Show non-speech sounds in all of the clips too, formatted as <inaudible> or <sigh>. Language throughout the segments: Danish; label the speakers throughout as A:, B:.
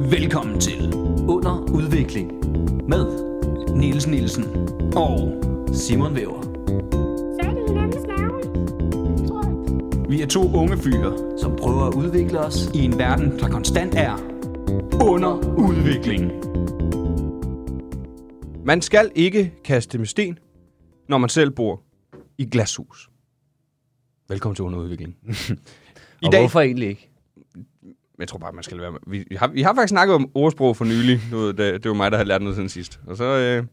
A: Velkommen til
B: Under udvikling med
A: Niels Nielsen og
B: Simon Væver,
C: Så er det hinandens navne. Tror jeg.
A: vi er to unge fyre
B: som prøver at udvikle os.
A: i en verden, der konstant er under udvikling.
D: Man skal ikke kaste med sten, når man selv bor i glashus. Velkommen til underudvikling. I
E: Og
D: dag,
E: hvorfor egentlig ikke?
D: jeg tror bare, man skal lade være med. Vi, vi, har, vi har faktisk snakket om ordsprog for nylig. Du ved, det, det var mig, der havde lært noget siden sidst. Og så, øh,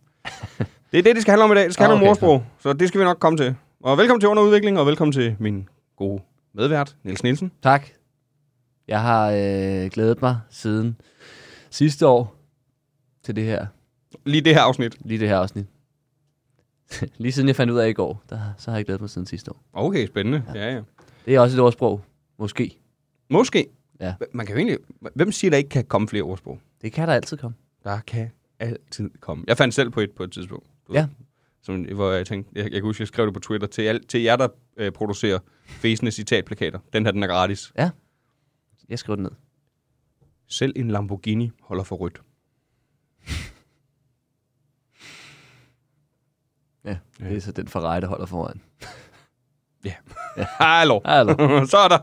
D: det er det, det skal handle om i dag. Det skal
E: Ah,
D: handle om
E: okay,
D: ordsprog. Så det skal vi nok komme til. Og velkommen til underudvikling, og velkommen til min gode medvært, Niels Nielsen.
E: Tak. Jeg har øh, glædet mig siden sidste år til det her,
D: Lige det her afsnit.
E: lige det her afsnit. <laughs> lige siden jeg fandt ud af i går, der, så har jeg glædet mig siden sidste år.
D: Okay, spændende. Ja, ja.
E: Det er også et ordsprog, måske.
D: Måske.
E: Ja.
D: Man kan jo egentlig... Hvem siger, der ikke kan komme flere ordsprog?
E: Det kan der altid komme.
D: Der kan altid komme. Jeg fandt selv på et på et tidspunkt. du
E: Ja.
D: ved, Som, hvor jeg tænkte, jeg, jeg kan huske, jeg skrev det på Twitter til, al, til jer, der øh, producerer fæsende citatplakater. Den her, den er gratis.
E: Jeg skriver det ned.
D: Selv en Lamborghini holder for rødt.
E: Ja, det er så den Ferrari, der holder foran.
D: Hallo. <laughs>
E: Hallo.
D: så er der,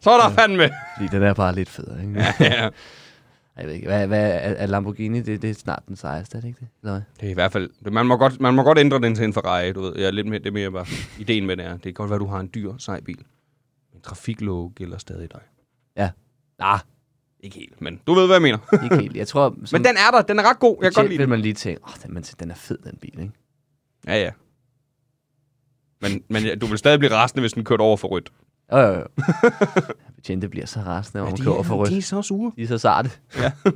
D: så er der ja. <laughs> fandme.
E: <laughs> Fordi den er bare lidt federe, ikke? Ja.
D: ja.
E: Jeg ved ikke, hvad, hvad er, er Lamborghini? Det, det er snart den sejeste, er det ikke det? Eller hvad?
D: Det er i hvert fald, man må, godt, man må godt ændre den til en Ferrari, du ved. Jeg er lidt mere, det er mere bare ideen med det er. Det kan godt være, du har en dyr, sej bil. Men trafiklov gælder stadig dig.
E: Nej,
D: Ikke helt, men du ved, hvad jeg <laughs> mener.
E: ikke helt. Jeg tror, som
D: men den er der, den er ret god. Jeg kan godt lide den.
E: vil man lige tænke, åh, den, men den er fed, den bil, ikke?
D: Ja, ja. Men, men ja, du vil stadig blive rasende, hvis den kørte over for rødt.
E: Jo, jo, <laughs> jo. Betjente bliver så rasende, når hun kører over for rødt.
D: de er så sure.
E: De er så sarte. Ja. <laughs>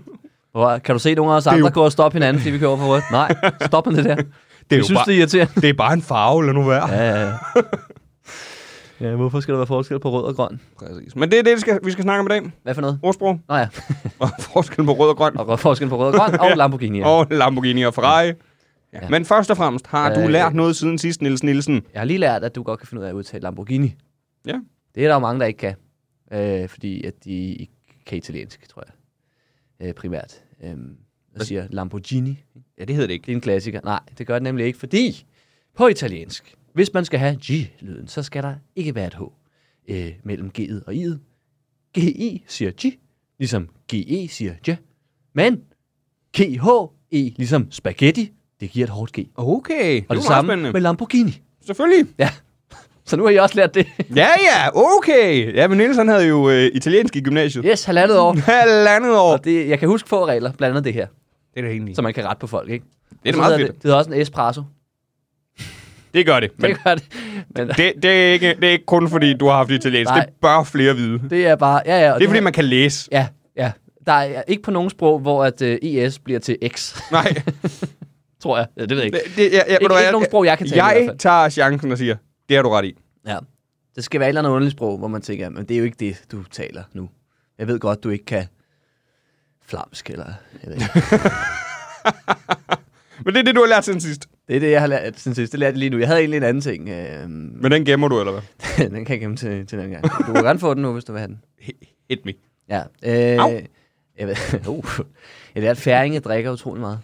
E: Hvor, kan du se nogle af os andre gå og stoppe hinanden, fordi vi kører over for rødt? Nej, stop med <laughs> det der.
D: Det er,
E: Vi
D: jo
E: synes,
D: bare,
E: det er <laughs> irriterende.
D: det er bare en farve, lad nu være. Ja.
E: Ja, ja, ja. ja, hvorfor skal der være forskel på rød og grøn?
D: Præcis. Men det er det, vi skal, vi skal snakke om i dag.
E: Hvad for noget?
D: Ordsprog <laughs>
E: Nå ja,
D: og forskel på rød og grøn.
E: og rød- forskel på rød og grøn og Lamborghini. <laughs> Ja.
D: Og Lamborghini og Ferrari. Ja. Ja. Men først og fremmest, har du
E: Øh,
D: lært noget siden sidst, Niels Nielsen?
E: Jeg har lige lært, at du godt kan finde ud af at udtale Lamborghini.
D: Ja.
E: Det er der jo mange, der ikke kan. Øh, fordi at de ikke kan italiensk, tror jeg. Øh, primært. Øh, og siger Lamborghini.
D: Ja, det hedder det ikke.
E: Det er en klassiker. Nej, det gør det nemlig ikke, fordi på italiensk, hvis man skal have G-lyden, så skal der ikke være et H øh, mellem G'et og I'et. GI siger G, ligesom GE siger J. Men GHE, ligesom spaghetti, det giver et hårdt G.
D: Okay,
E: Og
D: det
E: det
D: var meget
E: samme
D: spændende.
E: med Lamborghini.
D: Selvfølgelig.
E: Ja, <laughs> så nu har jeg også lært det.
D: Ja, ja, okay. Ja, men Niels han havde jo øh, italiensk i gymnasiet.
E: Yes, halvandet år.
D: <laughs> Halvandet år.
E: Og det, jeg kan huske få regler, blandt andet det her,
D: Det er da egentlig.
E: så man kan rette på folk, ikke?
D: Det er da
E: Så
D: meget
E: hedder
D: fedt.
E: Det, det hedder også en espresso.
D: Det gør det. Men
E: Det gør det.
D: <laughs>
E: Men
D: Det, det, er ikke, det er ikke kun fordi, du har haft italiensk.
E: Nej.
D: Det bør flere vide. Det,
E: det er bare... Ja, ja, og
D: det er fordi,
E: her-
D: man kan læse.
E: Ja, ja. Der er ikke på nogen sprog, hvor at øh, ES bliver til X, <laughs>
D: Nej,
E: tror jeg. Ja, det ved jeg ikke.
D: det, det, ja, ja,
E: Ikke- ikke nogen sprog, jeg kan tale i hvert
D: Jeg
E: fald.
D: tager chancen og siger, det har du ret i.
E: Ja. Det skal være et eller andet underligt sprog, hvor man tænker, men det er jo ikke det, du taler nu. Jeg ved godt, du ikke kan flamsk, eller jeg ved ikke. <laughs>
D: Men det er det, du har lært siden sidst.
E: Det er det, jeg har lært siden sidst. Det lærte jeg lige nu. Jeg havde egentlig en anden ting. Øh,
D: Men den gemmer du, eller hvad?
E: den kan jeg gemme til, til den gang. Du kan gerne få den nu, hvis du vil have den.
D: Hit me.
E: Ja.
D: Au.
E: Øh, jeg ved, <laughs> uh, jeg lærte, at færinge drikker utrolig meget.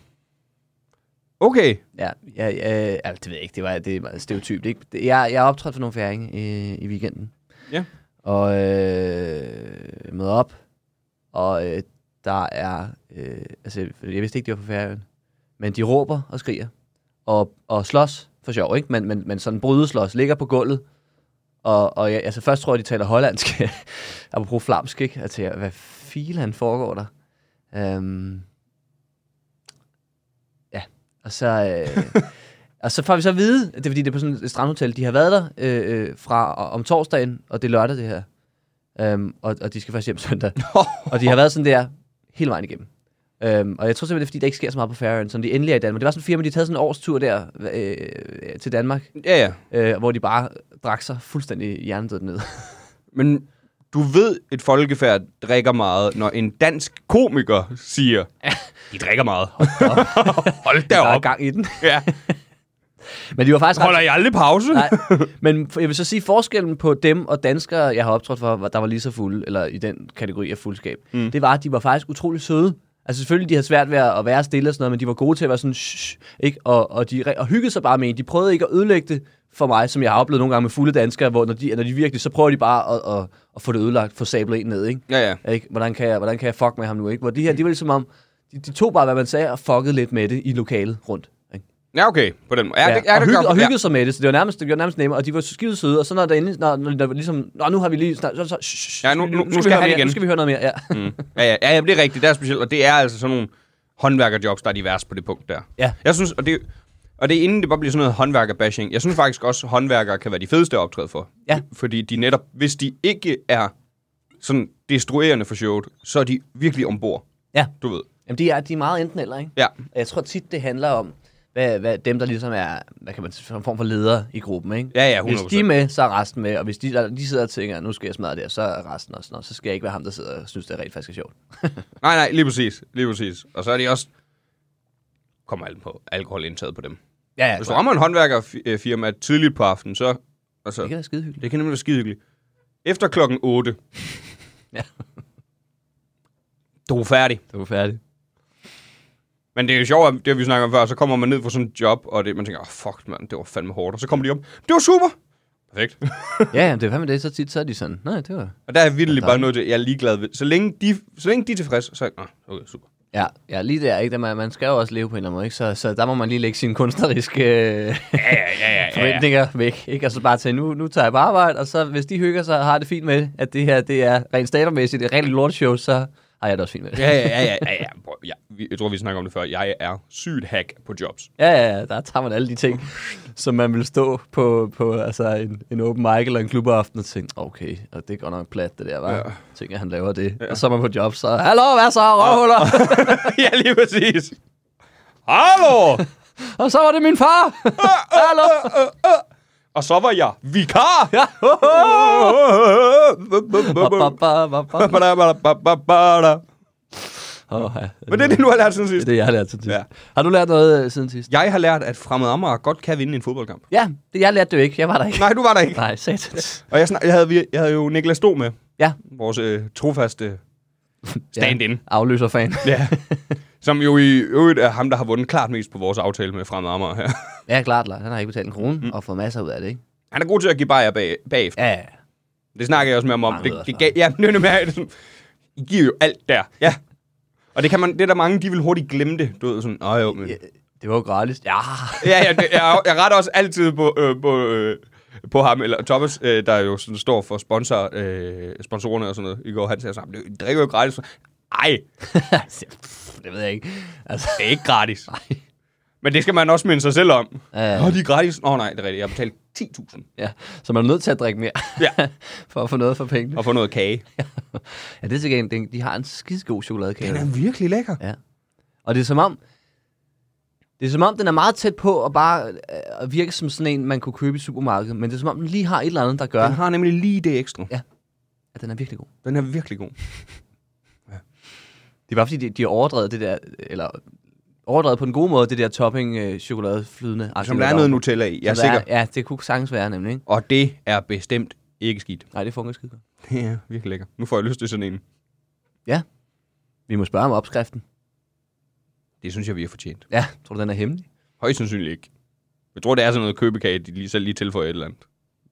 D: Okay.
E: Ja, ja, ja, ja, det ved jeg ikke. Det var det er meget stereotypt. Ikke? Det- Jeg, jeg optrådte for nogle færing i, i weekenden.
D: Ja.
E: Og øh, møder op, og øh, der er... Øh, altså, jeg vidste ikke, det var på færøen. Men de råber og skriger. Og, og slås for sjov, ikke? Men, men, men sådan brydeslås, ligger på gulvet. Og, og jeg, altså først tror jeg, de taler hollandsk. <laughs> Apropos flamsk, ikke? Altså, Jeg tænker, hvad filan foregår der? Øhm, og så, øh, og så får vi så at vide, det er fordi, det er på sådan et strandhotel, de har været der øh, øh, fra og- om torsdagen, og det er lørdag det her. Øhm, og, og de skal først hjem søndag. og de har været sådan der hele vejen igennem. Øhm, og jeg tror simpelthen, det er fordi, der ikke sker så meget på Færøen, som de endelig er i Danmark. Det var sådan et firma, de havde sådan en årstur der øh, til Danmark,
D: Ja, ja.
E: øh, hvor de bare drak sig fuldstændig hjernedødt ned.
D: Men du ved, et folkefærd drikker meget, når en dansk komiker siger, de drikker meget. Hold da
E: <laughs> Der er
D: op.
E: gang i den.
D: Ja.
E: Men de var faktisk ret-
D: Holder I aldrig pause?
E: Nej, men jeg vil så sige, forskellen på dem og danskere, jeg har optrådt for, der var lige så fulde, eller i den kategori af fuldskab, mm. det var, at de var faktisk utrolig søde. Altså selvfølgelig, de havde svært ved at være stille og sådan noget, men de var gode til at være sådan, shh, ikke? Og, og de re- og hyggede sig bare med en. De prøvede ikke at ødelægge det for mig, som jeg har oplevet nogle gange med fulde danskere, hvor når de, når de virkelig, så prøver de bare at, at, at få det ødelagt, få sablet en ned, ikke?
D: Ja, ja.
E: ikke? Hvordan, kan jeg, hvordan kan jeg fuck med ham nu, ikke? Hvor de her, de var ligesom om, de, de tog bare, hvad man sagde, og fuckede lidt med det i lokalet rundt, ikke?
D: Ja, okay. På den måde. Ja, det, ja,
E: og,
D: det
E: hygge,
D: gør-
E: og
D: ja.
E: hyggede sig med det, så det var nærmest, det gjorde nærmest nemmere, og de var skide søde, og så når der endelig, når, når der var ligesom, Nå, nu har vi lige, snart, så, så, shh, shh,
D: Ja, nu- nu- nu
E: vi
D: skal
E: høre
D: han
E: mere,
D: igen.
E: Nu skal vi høre noget mere, ja. Mm.
D: Ja, ja, ja, ja, det er rigtigt. Det er specielt, og det er altså sådan nogle håndværkerjobs, der er de værste på det punkt der.
E: Ja.
D: Jeg synes, og det, og det er inden det bare bliver sådan noget håndværkerbashing. Jeg synes faktisk også, at håndværkere kan være de fedeste at optræde for.
E: Ja.
D: Fordi de netop, hvis de ikke er sådan destruerende for showet, så er de virkelig ombord,
E: ja.
D: du ved.
E: Jamen, de er, de er meget enten eller, ikke?
D: Ja,
E: Og jeg tror tit, det handler om, hvad, hvad, dem, der ligesom er, hvad kan man sige, en form for leder i gruppen, ikke?
D: Ja, ja,
E: Hvis de
D: 100%.
E: er med, så er resten med, og hvis de, de sidder og tænker, nu skal jeg smadre det, her, så er resten også, Nå, så skal jeg ikke være ham, der sidder og synes, det er rent faktisk er sjovt.
D: nej, nej, lige præcis. Lige præcis. Og så er de også kommer alt på alkoholindtaget på dem.
E: ja, ja,
D: Hvis du rammer en håndværkerfirma tidligt på aftenen, så... Altså,
E: det kan være skide hyggeligt.
D: Det kan nemlig være skide hyggeligt. Efter klokken 8.
E: <laughs> Ja.
D: Du er færdig.
E: Det var færdigt.
D: Men det er jo sjovt, at det vi snakker om før, så kommer man ned fra sådan et job, og det, man tænker, oh, fuck mand, det var fandme hårdt. Og så kommer de op, det var super. Perfekt.
E: ja, ja, det er fandme det, så tit, så er de sådan, nej, det var...
D: og der er jeg virkelig
E: Ja,
D: bare nødt til, jeg er ligeglad ved. Så længe de, så længe de er tilfredse, så er jeg, "Nå, okay, super.
E: Ja, ja lige der, ikke? Der, man, man skal jo også leve på en eller anden måde, ikke? Så, så der må man lige lægge sine kunstneriske øh,
D: Ja, ja, ja, ja, ja.
E: forventninger væk, ikke? Og så bare tage, nu, nu tager jeg på arbejde, og så hvis de hygger sig og har det fint med, at det her, det er rent statermæssigt, det er rent lorteshow, så har jeg det også fint med det.
D: Ja, ja, ja, ja, ja, ja. Prøv, ja. vi- Jeg tror, vi snakker om det før. Jeg er sygt hack på jobs. <laughs>
E: Ja, ja, ja, der tager man alle de ting, som man vil stå på, på altså en, en open mic eller en klubaften og tænke, okay, og det går nok plat, det der, var. Ja. Tænker, han laver det. Ja. Og så er man på job, så, hallo, hvad så, røvhuller?
D: Ah. ja, lige præcis. Hallo!
E: <laughs> og så var det min far!
D: Ah,
E: hallo!
D: Og så var jeg <laughs> vikar.
E: Ja, ho,
D: Men
E: ho. Åh, ja.
D: det er det, du har lært siden
E: Det er
D: sidst.
E: det, jeg har lært siden sidst.
D: Ja.
E: Ja. Har du lært noget øh, siden sidst?
D: Jeg har lært, at fremmed Amager godt kan vinde en fodboldkamp.
E: Ja, det, jeg lærte det jo ikke. Jeg var der ikke.
D: Nej, du var der ikke.
E: Nej satans.
D: Og jeg, snak, jeg, havde, vi- jeg havde jo Niklas Stå med,
E: Ja.
D: vores øh, trofaste stand-in,
E: Afløser fan.
D: ja. som jo i øvrigt er ham, der har vundet klart mest på vores aftale med fremmed Amager her.
E: <laughs> ja, klart, klart. Han har ikke betalt en krone mm. og fået masser ud af det, ikke?
D: Han er god til at give bajer bag, bagefter.
E: Ja, ja.
D: Det snakker jeg også med ham om.
E: Mange
D: Det,
E: ved
D: det
E: også,
D: gav, ja, <laughs> men det er nemlig- det er sådan, I giver jo alt der. Ja. Og det, kan man, det er der mange, de vil hurtigt glemme det. Du ved sådan, åh jo, men...
E: Det var jo gratis.
D: <laughs>
E: Ja.
D: Ja, ja, det, jeg, jeg retter også altid på, øh, på, øh, på ham, eller Thomas, øh, der jo sådan står for sponsor, øh, sponsorerne og sådan noget. I går, han sagde sammen, det drikker jo gratis. Ej,
E: Altså, det ved jeg ikke. Altså,
D: det er
E: <laughs>
D: ikke gratis. Men det skal man også minde sig selv om.
E: Ja.
D: Nå, de er gratis. Nå nej, det er rigtigt. Jeg har betalt 10.000
E: ja. Så man er nødt til at drikke mere.
D: Ja.
E: <laughs> for at få noget for pengene.
D: og få noget kage.
E: ja, det er til gengæld. De har en skidegod chokoladekage.
D: virkelig lækker.
E: Ja. Og det er som om, det er som om, den er meget tæt på at bare øh, at virke som sådan en, man kunne købe i supermarkedet. Men det er som om, den lige har et eller andet, der gør,
D: Den har nemlig lige det ekstra.
E: at den er virkelig god.
D: Den er virkelig god.
E: Det er bare fordi, de, de har overdrevet det der, eller overdrevet på den gode måde, det der topping øh, chokoladeflydende.
D: Som der er noget Nutella i, jeg er sikker.
E: ja, det kunne sagtens være nemlig, ikke?
D: Og det er bestemt ikke
E: <laughs>
D: skidt.
E: Nej, det fungerer skidt.
D: Det er virkelig lækker. Nu får jeg lyst til sådan en.
E: Vi må spørge om opskriften.
D: Det synes jeg, vi har fortjent.
E: Ja, tror du, den er hemmelig?
D: Højst sandsynligt ikke. Jeg tror, det er sådan noget købekage, de lige, selv lige tilføjer et eller andet.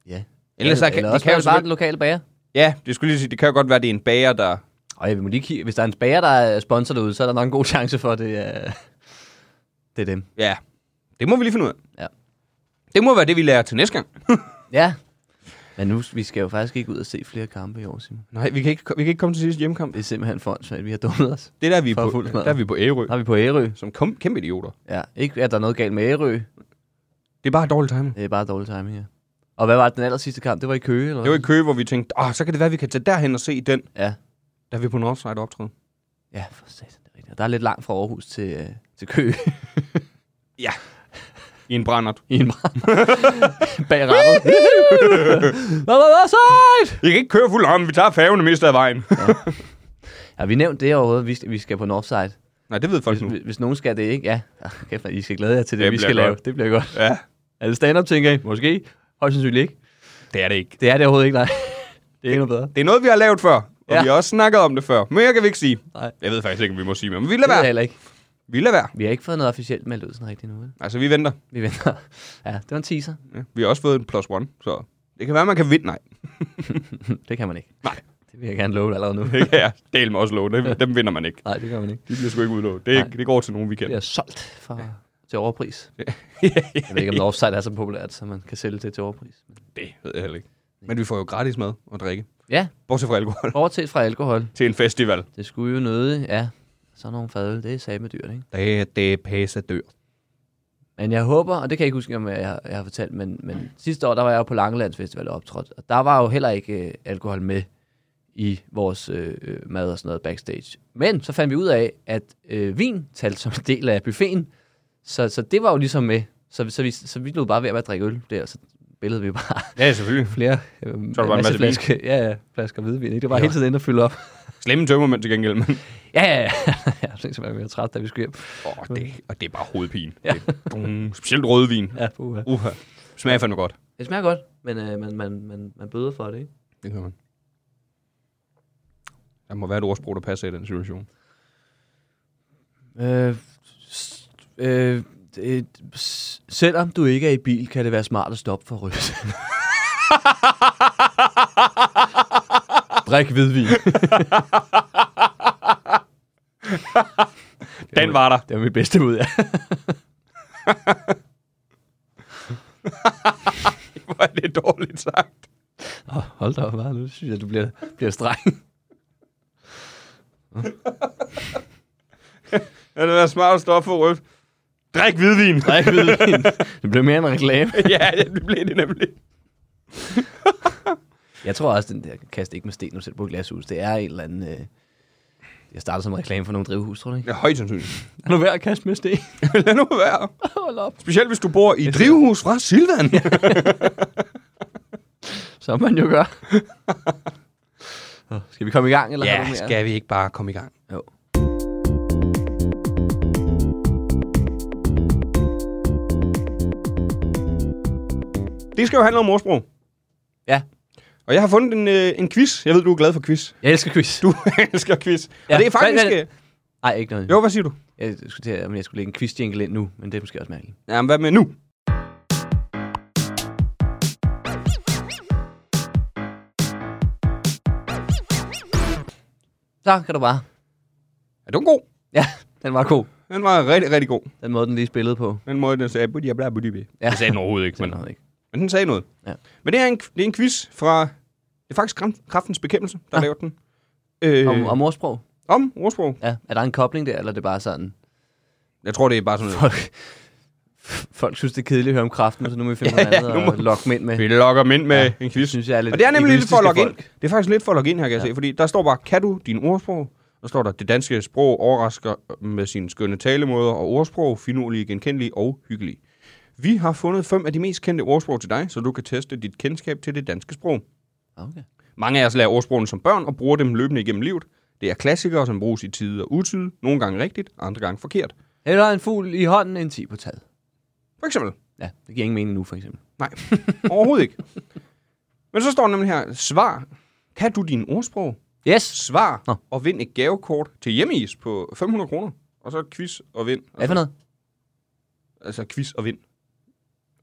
E: Ja.
D: Ellers så
E: eller,
D: kan-
E: eller
D: de
E: også
D: kan jo
E: kan det bare
D: selvfølgelig-
E: den lokale bager.
D: Ja, det skulle lige sige, det kan jo godt være, det er en bager, der...
E: Og ja, vi må lige kigge. Hvis der er en bager, der er sponsor derude, så er der nok en god chance for, at det, øh, det er dem.
D: Ja, det må vi lige finde ud af.
E: Ja.
D: Det må være det, vi lærer til næste gang.
E: Ja. Men nu, vi skal jo faktisk ikke ud og se flere kampe i år, Simon.
D: Nej, vi kan ikke, vi kan ikke komme til sidste hjemmekamp.
E: Det er simpelthen for at vi har dummet os.
D: Det er der, vi er
E: For
D: på,
E: fuld smadret.
D: der er vi på Ærø,
E: Der er vi på Ærø.
D: som kom, kæmpe idioter.
E: Ja, ikke at der er noget galt med Ærø.
D: Det er bare dårlig timing.
E: Det er bare dårlig timing, ja. Og hvad var det, den aller sidste kamp? Det var i Køge, eller
D: Det var i Køge, hvor vi tænkte, Åh, så kan det være, vi kan tage derhen og se den,
E: Ja.
D: der vi på Northside optræde.
E: Ja, for satan, det er rigtigt. Og Der er lidt langt fra Aarhus til, øh, til Køge <laughs>
D: I en brændert.
E: i en brand.
D: <laughs>
E: Bag rattet. Hvad var det sejt?
D: I kan ikke køre fuld om, vi tager færgen og mister af vejen.
E: Ja, vi nævnte det overhovedet, vi, vi skal på Northside.
D: <laughs> Nej, det ved folk nu.
E: Hvis, hvis, nogen skal det, ikke? Ja, Ah, kæft, man, I skal glæde jer til det,
D: Det
E: vi
D: bliver
E: skal lave.
D: godt.
E: Det bliver godt.
D: <laughs> Ja,
E: Er det stand-up, tænker I? Måske. Højst sandsynligt ikke.
D: Det er det ikke.
E: Det er det overhovedet ikke, nej. Det er endnu bedre.
D: Det er noget, vi har lavet før, og
E: Ja.
D: ja. vi har også snakket om det før. Mere kan vi ikke sige.
E: Nej.
D: Jeg ved faktisk ikke, om vi må sige mere, men vi
E: Det
D: lader
E: er
D: være.
E: heller ikke.
D: Vi lader være.
E: Vi har ikke fået noget officielt meldt ud sådan rigtigt nu. vel?
D: Altså, vi venter.
E: Vi venter. Ja, det var en teaser. <laughs>
D: Ja. Vi har også fået en plus one, så det kan være, man kan vinde. Nej, <laughs>
E: Det kan man ikke.
D: Nej.
E: Det vil jeg gerne love dig
D: <laughs>
E: allerede nu.
D: det kan jeg del med også love. Dem, dem vinder man ikke.
E: Nej, det kan man ikke.
D: De bliver sgu ikke udlovet. Det, er ikke, det går til nogen, vi
E: Det
D: kender.
E: er solgt fra, til overpris. <laughs> Jeg ved ikke, om det offside er så populært, så man kan sælge det til overpris.
D: Det ved jeg heller ikke. Men vi får jo gratis mad og drikke.
E: Ja,
D: Bortset fra alkohol. <laughs>
E: bortset fra alkohol.
D: til en festival.
E: Det skulle jo noget, ja. Sådan nogle fadøl, det er samme dyrt, ikke?
D: Det, det er pæse dyr.
E: Men jeg håber, og det kan jeg ikke huske, om jeg, jeg har fortalt, men, men sidste år, der var jeg jo på Langelands Festival og optrådt, og der var jo heller ikke øh, alkohol med i vores øh, øh, mad og sådan noget backstage. Men så fandt vi ud af, at øh, vin talte som en del af buffeten, så, så det var jo ligesom med. Så, så, vi, så vi lå bare ved at drikke øl der, og så billede vi bare
D: Ja, selvfølgelig.
E: flere øh,
D: var en masse vin.
E: flaske, ja, ja, flasker hvidvin. Ikke? Det var hele tiden inde og fylde op.
D: Slemme tømmermænd til gengæld, men...
E: <laughs> Ja, ja, ja. Jeg synes, jeg var mere træt, da vi skulle hjem.
D: Åh, det, og det er bare hovedpine. Ja. Det, dum, specielt rødvin.
E: Ja, puha.
D: Uha. Smager fandme godt.
E: Det smager godt, men øh, man, man, man, man bøder for det, ikke?
D: Det kan man. Der må være et ordsprog, der passer i den situation.
E: Øh, s- øh, det, s- selvom du ikke er i bil, kan det være smart at stoppe for <laughs> rødt. Drik hvidvin.
D: Den var der.
E: Det var mit bedste ud, ja.
D: <laughs> Hvor er det dårligt sagt.
E: Oh, hold da op, hva'? nu synes jeg, du bliver, bliver streng.
D: Ja, det er smart at stoppe for rødt. Drik hvidvin.
E: Drik hvidvin. <laughs> Det blev mere en reklame.
D: <laughs> ja, det blev det nemlig.
E: Jeg tror også, den der kast ikke med sten, og sæt på et glashus, det er en eller anden... Øh, jeg startede som reklame for nogle drivhus, tror du ikke?
D: Ja, højt sandsynligt.
E: Er du ved at kaste med sten?
D: <laughs> Lad nu være.
E: <laughs> Hold op.
D: Specielt hvis du bor i drivhus fra <laughs> Silvan.
E: Som man jo gør. Nå, skal vi komme i gang, eller har du mere?
D: vi ikke bare komme i gang?
E: Jo.
D: Det skal jo handle om ordsprog.
E: Ja.
D: Og jeg har fundet en, øh, en quiz. Jeg ved, du er glad for quiz.
E: Jeg elsker quiz.
D: Du <laughs> elsker quiz. Ja.
E: Ja,
D: Og det er faktisk...
E: hvad- hvad-
D: øh,
E: Nej, ikke noget.
D: Jo, hvad siger du?
E: Jeg skulle til, at- om jeg skulle lægge en quiz jingle ind nu, men det er måske også mærkeligt.
D: Jamen, hvad med nu?
E: Så kan du bare.
D: Er den god?
E: Ja, den var god.
D: Den var rigtig, rigtig god.
E: Den måde, den lige spillede på.
D: Den måde, den sagde... Budia, bla, budia, bla.
E: Ja.
D: Det sagde den overhovedet ikke,
E: Den
D: men,
E: havde ikke.
D: men den sagde noget.
E: Ja.
D: Men det er, en, det er en quiz fra... Det er faktisk Kram- Kraftens Bekæmpelse, der
E: Ah.
D: lavede den. Øh,
E: Om, om ordsprog?
D: om ordsprog.
E: Ja. Er der en kobling der, eller er det bare sådan?
D: Jeg tror, det er bare sådan noget.
E: Folk, <laughs> folk synes, det er kedeligt at høre om kraften, så nu må vi finde ja, noget
D: ja,
E: andet
D: nu
E: og
D: må-
E: lokke dem ind med.
D: Vi logger dem ind med ja. en
E: Det
D: quiz.
E: synes jeg er lidt
D: Og det er nemlig lidt for at logge ind.
E: egoistiske folk.
D: Det er faktisk lidt for at logge ind her, kan jeg
E: Ja.
D: ja. se. Fordi der står bare, kan du din ordsprog? Der står der, det danske sprog overrasker med sine skønne talemåder og ordsprog, finurlige, genkendelige og hyggelige. Vi har fundet fem af de mest kendte ordsprog til dig, så du kan teste dit kendskab til det danske sprog.
E: Ah, Okay.
D: Mange af os lærer ordsprogene som børn og bruger dem løbende igennem livet. Det er klassikere, som bruges i tide og utide, nogle gange rigtigt, andre gange forkert.
E: Eller en fugl i hånden, en 10 på taget.
D: For eksempel.
E: Ja, det giver ingen mening nu, for eksempel.
D: Nej, overhovedet
E: <laughs>
D: ikke. Men så står der nemlig her, svar. Kan du din ordsprog?
E: Yes!
D: svar
E: Nå.
D: og vind et gavekort til hjemmeis på 500 kroner. Og så et quiz og vind.
E: Hvad for noget?
D: Altså quiz og vind.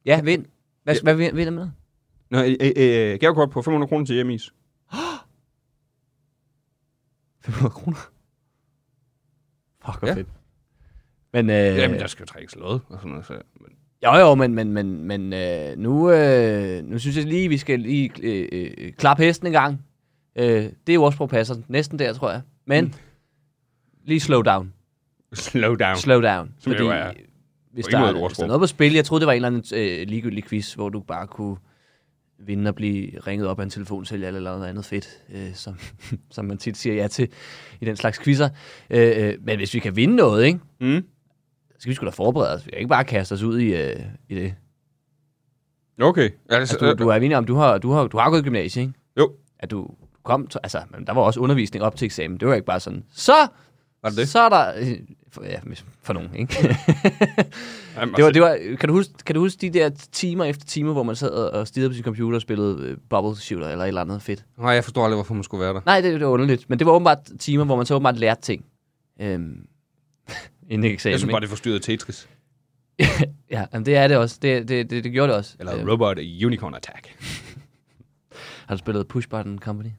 E: Ja, vind. Hvad,
D: Ja.
E: hvad vind, vinder med?
D: Nå, øh, øh, øh, gavekort på 500 kroner til hjemmeis.
E: 500 kroner. Fuck, hvor
D: Ja.
E: fedt. Men, øh,
D: Øh. Jamen, der skal jo trækkes lod og sådan noget. Så. Men,
E: Jo, jo, men, men, men, men øh, nu, øh, nu synes jeg lige, vi skal lige øh, øh, klappe hesten en gang. Øh, det er jo også passer næsten der, tror jeg. Men mm. lige slow down.
D: slow down.
E: Slow down.
D: Som jo er
E: hvis,
D: på
E: der,
D: ingen måde et
E: er- hvis der er
D: ordsprog.
E: noget på spil, jeg troede, det var en eller anden øh, ligegyldig quiz, hvor du bare kunne vinde og blive ringet op af en telefonsælger eller noget andet fedt, øh, som, <laughs> som man tit siger ja til i den slags quizzer. Øh, øh, men hvis vi kan vinde noget, ikke?
D: Mm.
E: Så skal vi sgu da forberede os. Vi kan ikke bare kaste os ud i, øh, i det.
D: Okay. Altså,
E: Altså, du, du er enig om, du har, du har, du har gået i gymnasiet, ikke?
D: Jo.
E: At du kom, til- altså, men der var også undervisning op til eksamen. Det var ikke bare sådan, så,
D: Var det det?
E: så er der øh, For, ja, hvis- for nogen, ikke?
D: Jamen, altså-
E: det var, det var, kan, du huske, kan du huske de der timer efter timer, hvor man sad og og stirrede på sin computer og spillede øh, Bubble Shooter eller et eller andet fedt?
D: Nej, jeg forstår aldrig, hvorfor man skulle være der.
E: Nej, det, det var underligt. Men det var åbenbart timer, hvor man så åbenbart lærte ting. Øhm, <laughs> inden eksamen,
D: Jeg synes bare, det forstyrrede Tetris.
E: Ja, jamen, det er det også. Det, det, det, det gjorde det også. Øh,
D: Eller Robot Unicorn Attack.
E: har du spillet Push Button Company?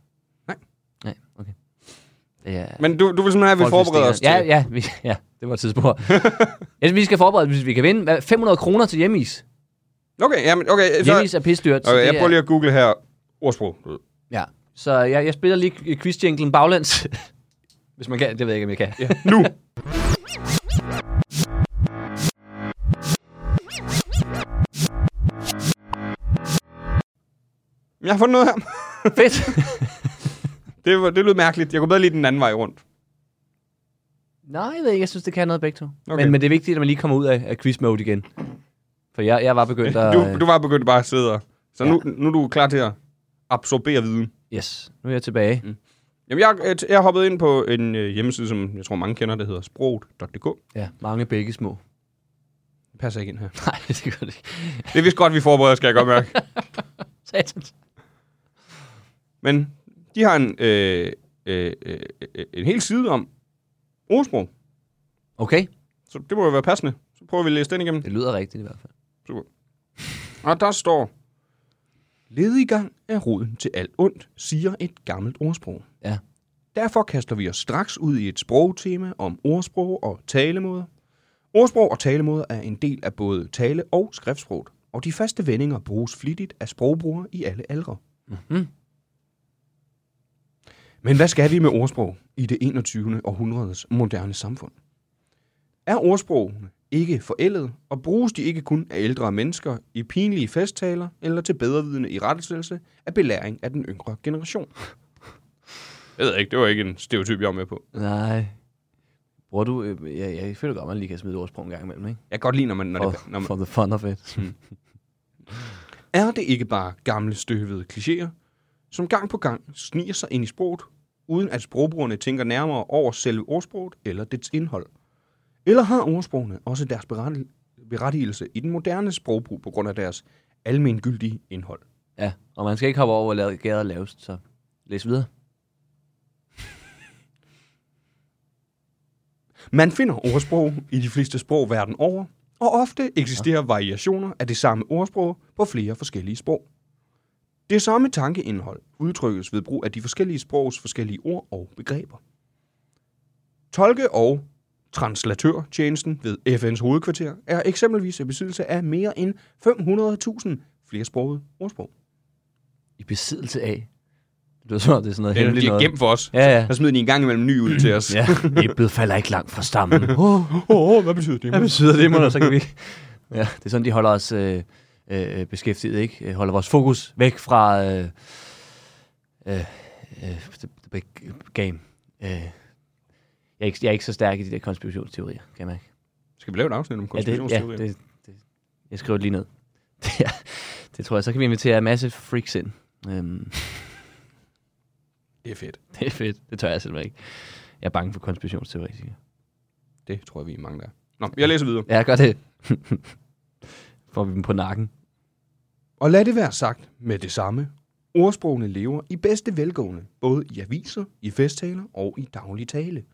D: Nej.
E: Nej, okay. Det er,
D: Men du, du vil simpelthen have, at vi
E: Folk
D: forbereder os
E: stikker. ja, ja, vi, ja, det var
D: <laughs>
E: et tidsspur. jeg synes, vi skal forberede, hvis vi kan vinde Hvad, 500 kroner til hjemmeis.
D: Okay, jamen, okay. Så,
E: Hjemmeis er pisdyrt. så
D: okay,
E: det
D: jeg prøver
E: er-
D: lige at google her. Ordsprog. du ved.
E: Ja, så jeg, jeg spiller lige quizjinglen baglæns. <laughs> hvis man kan, det ved jeg ikke, om jeg kan.
D: Ja, nu. Jeg har fundet noget her.
E: <laughs> Fedt.
D: Det, var, det lød mærkeligt. Jeg kunne bedre lide den anden vej rundt.
E: Nej, jeg ved ikke, jeg synes, det kan noget begge to. Okay.
D: Okay.
E: Men, men det er vigtigt, at man lige kommer ud af, af quiz-mode igen. For jeg, jeg var begyndt at...
D: Du, du var begyndt bare at sidde og... Så
E: Ja.
D: nu, nu er du klar til at absorbere viden.
E: Yes, nu er jeg tilbage. Mm.
D: Jamen, jeg, øh, jeg hoppede ind på en øh, hjemmeside, som jeg tror mange kender, der hedder sproget.dk.
E: Ja, mange begge små.
D: Det passer ikke ind her.
E: <laughs> Nej, det gør det ikke.
D: Det er vist godt, vi forbereder, skal jeg godt mærke.
E: Satans.
D: Men de har en, øh, øh, øh, øh, en hel side om ordsprog,
E: Okay,
D: så det må jo være passende. Så prøver vi at læse den igennem.
E: det lyder rigtigt i hvert fald.
D: Og der står, Lediggang er roden til alt ondt, siger et gammelt ordsprog.
E: Ja.
D: Derfor kaster vi os straks ud i et sprogtema om ordsprog og talemåder. Ordsprog og talemåder er en del af både tale- og skriftsproget, og de faste vendinger bruges flittigt af sprogbrugere i alle aldre.
E: Mhm.
D: Men hvad skal vi med ordsprog i det 21. århundredes moderne samfund? Er ordsprogene ikke forældet, og bruges de ikke kun af ældre mennesker i pinlige festtaler eller til bedrevidende i rettelselse af belæring af den yngre generation? Jeg ved ikke, det var ikke en stereotyp, jeg var med på.
E: Nej. Bruger du... Øh, jeg, jeg føler godt, man lige kan smide et ordsprog en gang imellem, ikke?
D: Jeg kan godt lide, når man... Når det,
E: For,
D: når man
E: for the fun of it.
D: er det ikke bare gamle støvede klichéer, som gang på gang sniger sig ind i sproget, uden at sprogbrugerne tænker nærmere over selve ordsproget eller dets indhold? Eller har ordsprogene også deres berettig- berettigelse i den moderne sprogbrug på grund af deres almengyldige indhold?
E: Ja, og man skal ikke hoppe over, hvor la- gærdet er lavest, så læs videre.
D: Man finder ordsprog i de fleste sprog verden over, og ofte eksisterer variationer af det samme ordsprog på flere forskellige sprog. Det samme tankeindhold udtrykkes ved brug af de forskellige sprogs forskellige ord og begreber. Tolke- og translatørtjenesten ved FN's hovedkvarter er eksempelvis i besiddelse af mere end 500.000 flersprogede ordsprog.
E: I besiddelse af. Det lyder som om, det er sådan noget
D: Det er,
E: hemmeligt
D: de er
E: noget.
D: gemt for os.
E: Ja, ja.
D: Der smider de en gang imellem ny ud til os.
E: Ja, æblet falder ikke langt fra
D: <laughs>
E: stammen. Oh,
D: Åh, oh, hvad betyder det?
E: hvad betyder det, mon? Og så kan vi... Ja, det er sådan, de holder os øh, øh, beskæftiget, ikke? Øh, Holder vores fokus væk fra... Øh, øh, øh, the, the big game. Øh, jeg, er ikke, jeg er ikke så stærk i de der konspirationsteorier, kan jeg mærke.
D: Skal vi lave et afsnit om
E: Ja, det, ja
D: konspirationsteorier?
E: det, det, jeg skriver det lige ned. <laughs> Ja, det tror jeg. Så kan vi invitere en masse freaks ind. Øhm,
D: det er fedt.
E: <laughs> det er fedt. Det tør jeg simpelthen ikke. Jeg er bange for konspirationsteoretikere.
D: Det tror jeg, vi er mange, der er. Nå, jeg læser videre.
E: Ja, gør det. <laughs> Får vi dem på nakken.
D: Og lad det være sagt med det samme. Ordsprogene lever i bedste velgående, både i aviser, i festtaler og i daglig tale.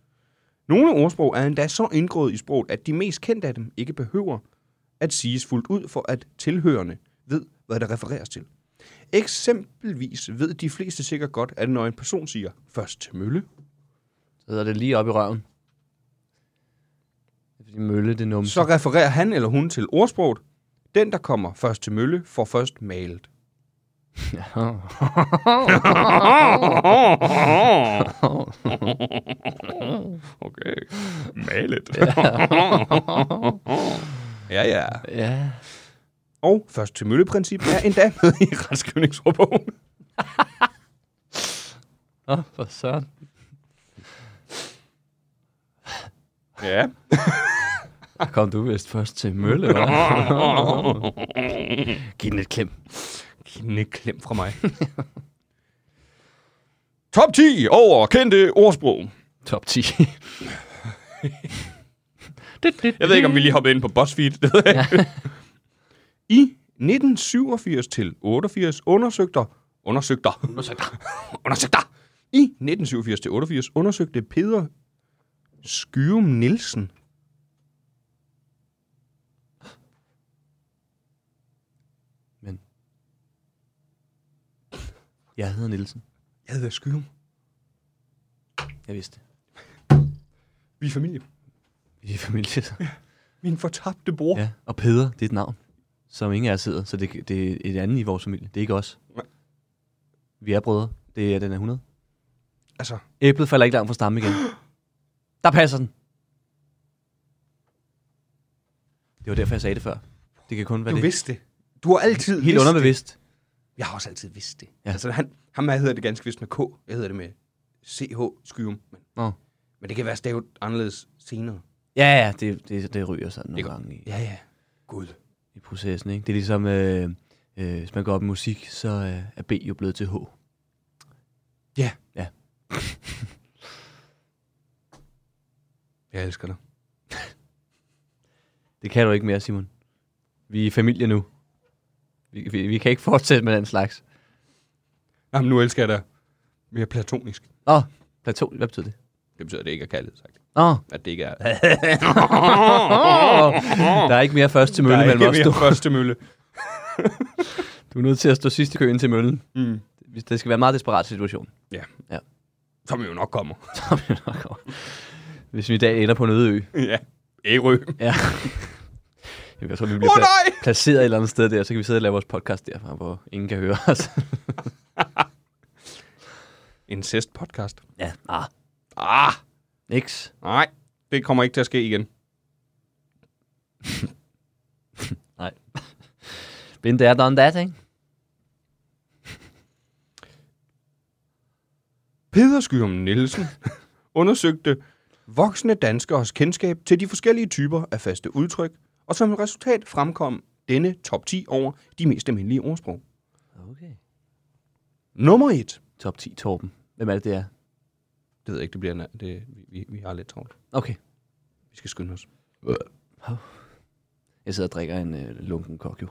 D: Nogle ordsprog er endda så indgået i sproget, at de mest kendte af dem ikke behøver at siges fuldt ud for, at tilhørende ved, hvad der refereres til. Eksempelvis ved de fleste sikkert godt, at når en person siger først til mølle,
E: Så hedder det lige op i røven. Det er fordi mølle, det numse.
D: så refererer han eller hun til ordsproget. Den, der kommer først til mølle, får først malet. Okay. Malet. <laughs> ja, ja.
E: <laughs> Ja.
D: Og først til mølleprincip er endda med i retskrivningsordbogen.
E: Nå, for søren.
D: Ja.
E: Der kom du vist først til mølle, hva'? <laughs> Giv den et klem.
D: Kneklem fra <laughs> mig.
E: <laughs>
D: Top 10 over kendte ordsprog.
E: Top 10.
D: Jeg ved ikke, om vi lige hoppede ind på BuzzFeed. Det ved jeg ikke. <laughs> I 1987 til 88 undersøgte undersøgte undersøgte undersøgte i 1987 til 88 undersøgte Peder Skyrum Nielsen
E: Men... Jeg hedder Nielsen.
D: Jeg hedder Skyrum.
E: Jeg vidste det.
D: Vi er familie.
E: Vi er familie. så.
D: Min fortabte bror.
E: Ja. Og Peder, det er et navn, som ingen af os hedder. Så det, det er et andet i vores familie. Det er ikke os.
D: Nej.
E: Vi er brødre. Det er den er 100.
D: Altså,
E: Æblet falder ikke langt
D: <gasps>
E: fra stammen igen. Der passer den. Det var derfor, jeg sagde det før. Det kan kun være
D: du
E: det.
D: vidste det. Du har altid
E: Helt
D: vidst
E: underbevidst.
D: Det. Jeg har også altid vidst det. Ja.
E: Ja.
D: Altså, han, ham her hedder det ganske vist med K. Jeg hedder det med CH Skyrum. Men,
E: Nå.
D: men det kan være stavet anderledes senere.
E: Ja, ja, det, det, det ryger sådan nogle
D: Det-
E: gange i,
D: Ja, ja. Gud.
E: i processen. Ikke? Det er ligesom, øh, øh, hvis man går op i musik, så øh, er B jo blevet til H.
D: Ja.
E: Ja.
D: Jeg elsker dig.
E: Det kan du ikke mere, Simon. Vi er familie nu. Vi, vi, vi kan ikke fortsætte med den slags.
D: Jamen, nu elsker jeg dig mere platonisk.
E: Nå, platon, hvad betyder det?
D: Det betyder, at det ikke er kaldet, sagt. <laughs>
E: Nå,
D: At det ikke er...
E: der er ikke mere først til
D: Der
E: møllen
D: er
E: mellem os
D: ikke
E: nu.
D: mere første <laughs> mølle.
E: Du er nødt til at stå sidst i køen til møllen.
D: Mm.
E: Hvis Det skal være en meget
D: <laughs>
E: desperat situation.
D: Som jo nok kommer. <laughs>
E: Så er vi nok over. Hvis vi i dag ender på en øde ø.
D: ja. Ærø.
E: Ja. Jamen, <laughs> Jeg tror, vi bliver
D: Åh,
E: pla-
D: nej!
E: placeret et eller andet sted der, så kan vi sidde og lave vores podcast derfra, hvor ingen kan høre os.
D: Incest podcast.
E: <laughs> ja, ah,
D: Ah,
E: niks.
D: nej. Det kommer ikke til at ske igen.
E: Been there, done that, ikke?
D: Peder Skyrum Nielsen undersøgte voksne danskeres kendskab til de forskellige typer af faste udtryk, og som resultat fremkom denne top 10 over de mest almindelige ordsprog.
E: Okay.
D: Nummer 1.
E: Top 10, Torben. Hvem er det, det er?
D: Det ved jeg ikke, det bliver... na- Det, vi- vi, vi har lidt travlt.
E: Okay.
D: Vi skal skynde os.
E: Jeg sidder og drikker en øh, lunken kok, jo.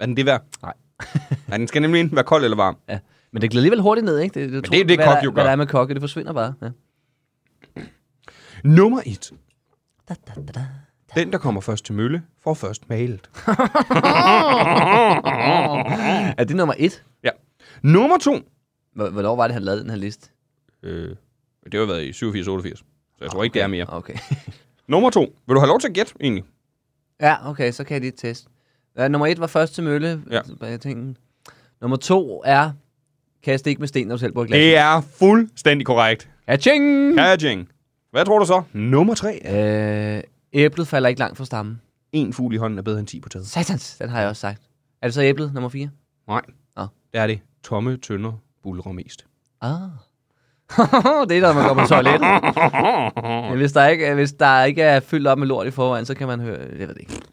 D: Er den det værd?
E: Nej. <laughs>
D: Nej, den skal nemlig enten være kold eller varm.
E: Ja. Men det glider alligevel hurtigt ned, ikke? Det, det,
D: det er det,
E: hvad
D: kok
E: der,
D: jo
E: Hvad
D: gør.
E: der er med kokke, det forsvinder bare.
D: <laughs>
E: Ja.
D: Nummer 1.
E: Da, da, da, da.
D: Den, der kommer først til mølle, får først malet.
E: Er det nummer et?
D: Ja. Nummer 2.
E: Hvor- Hvornår var det, han lavede den her liste?
D: Øh, det har jo været i 87-88, så jeg tror ikke, det er mere.
E: Ah, Okay. <laughs>
D: Nummer 2. Vil du have lov til at gætte, egentlig?
E: ja, okay, så kan jeg lige teste. Ja, nummer et var først til Mølle. altså,
D: Ja.
E: Jeg tænkte. Nummer to er... Kast ikke med sten, når du selv bruger glas.
D: Det er fuldstændig korrekt.
E: Aching!
D: Kajing. Hvad tror du så? Nummer 3 er
E: Øh, æblet falder ikke langt fra stammen.
D: en fugl i hånden er bedre end 10 på taget.
E: Satans, den har jeg også sagt. Er det så æblet, nummer 4?
D: Nej.
E: Nå.
D: Der er det. Tomme tønder bulrer mest.
E: Ah. <laughs> det er når man går på toilettet.
D: <laughs>
E: Men hvis der, ikke, hvis der ikke er fyldt op med lort i forvejen, så kan man høre... Jeg ved det ikke. Det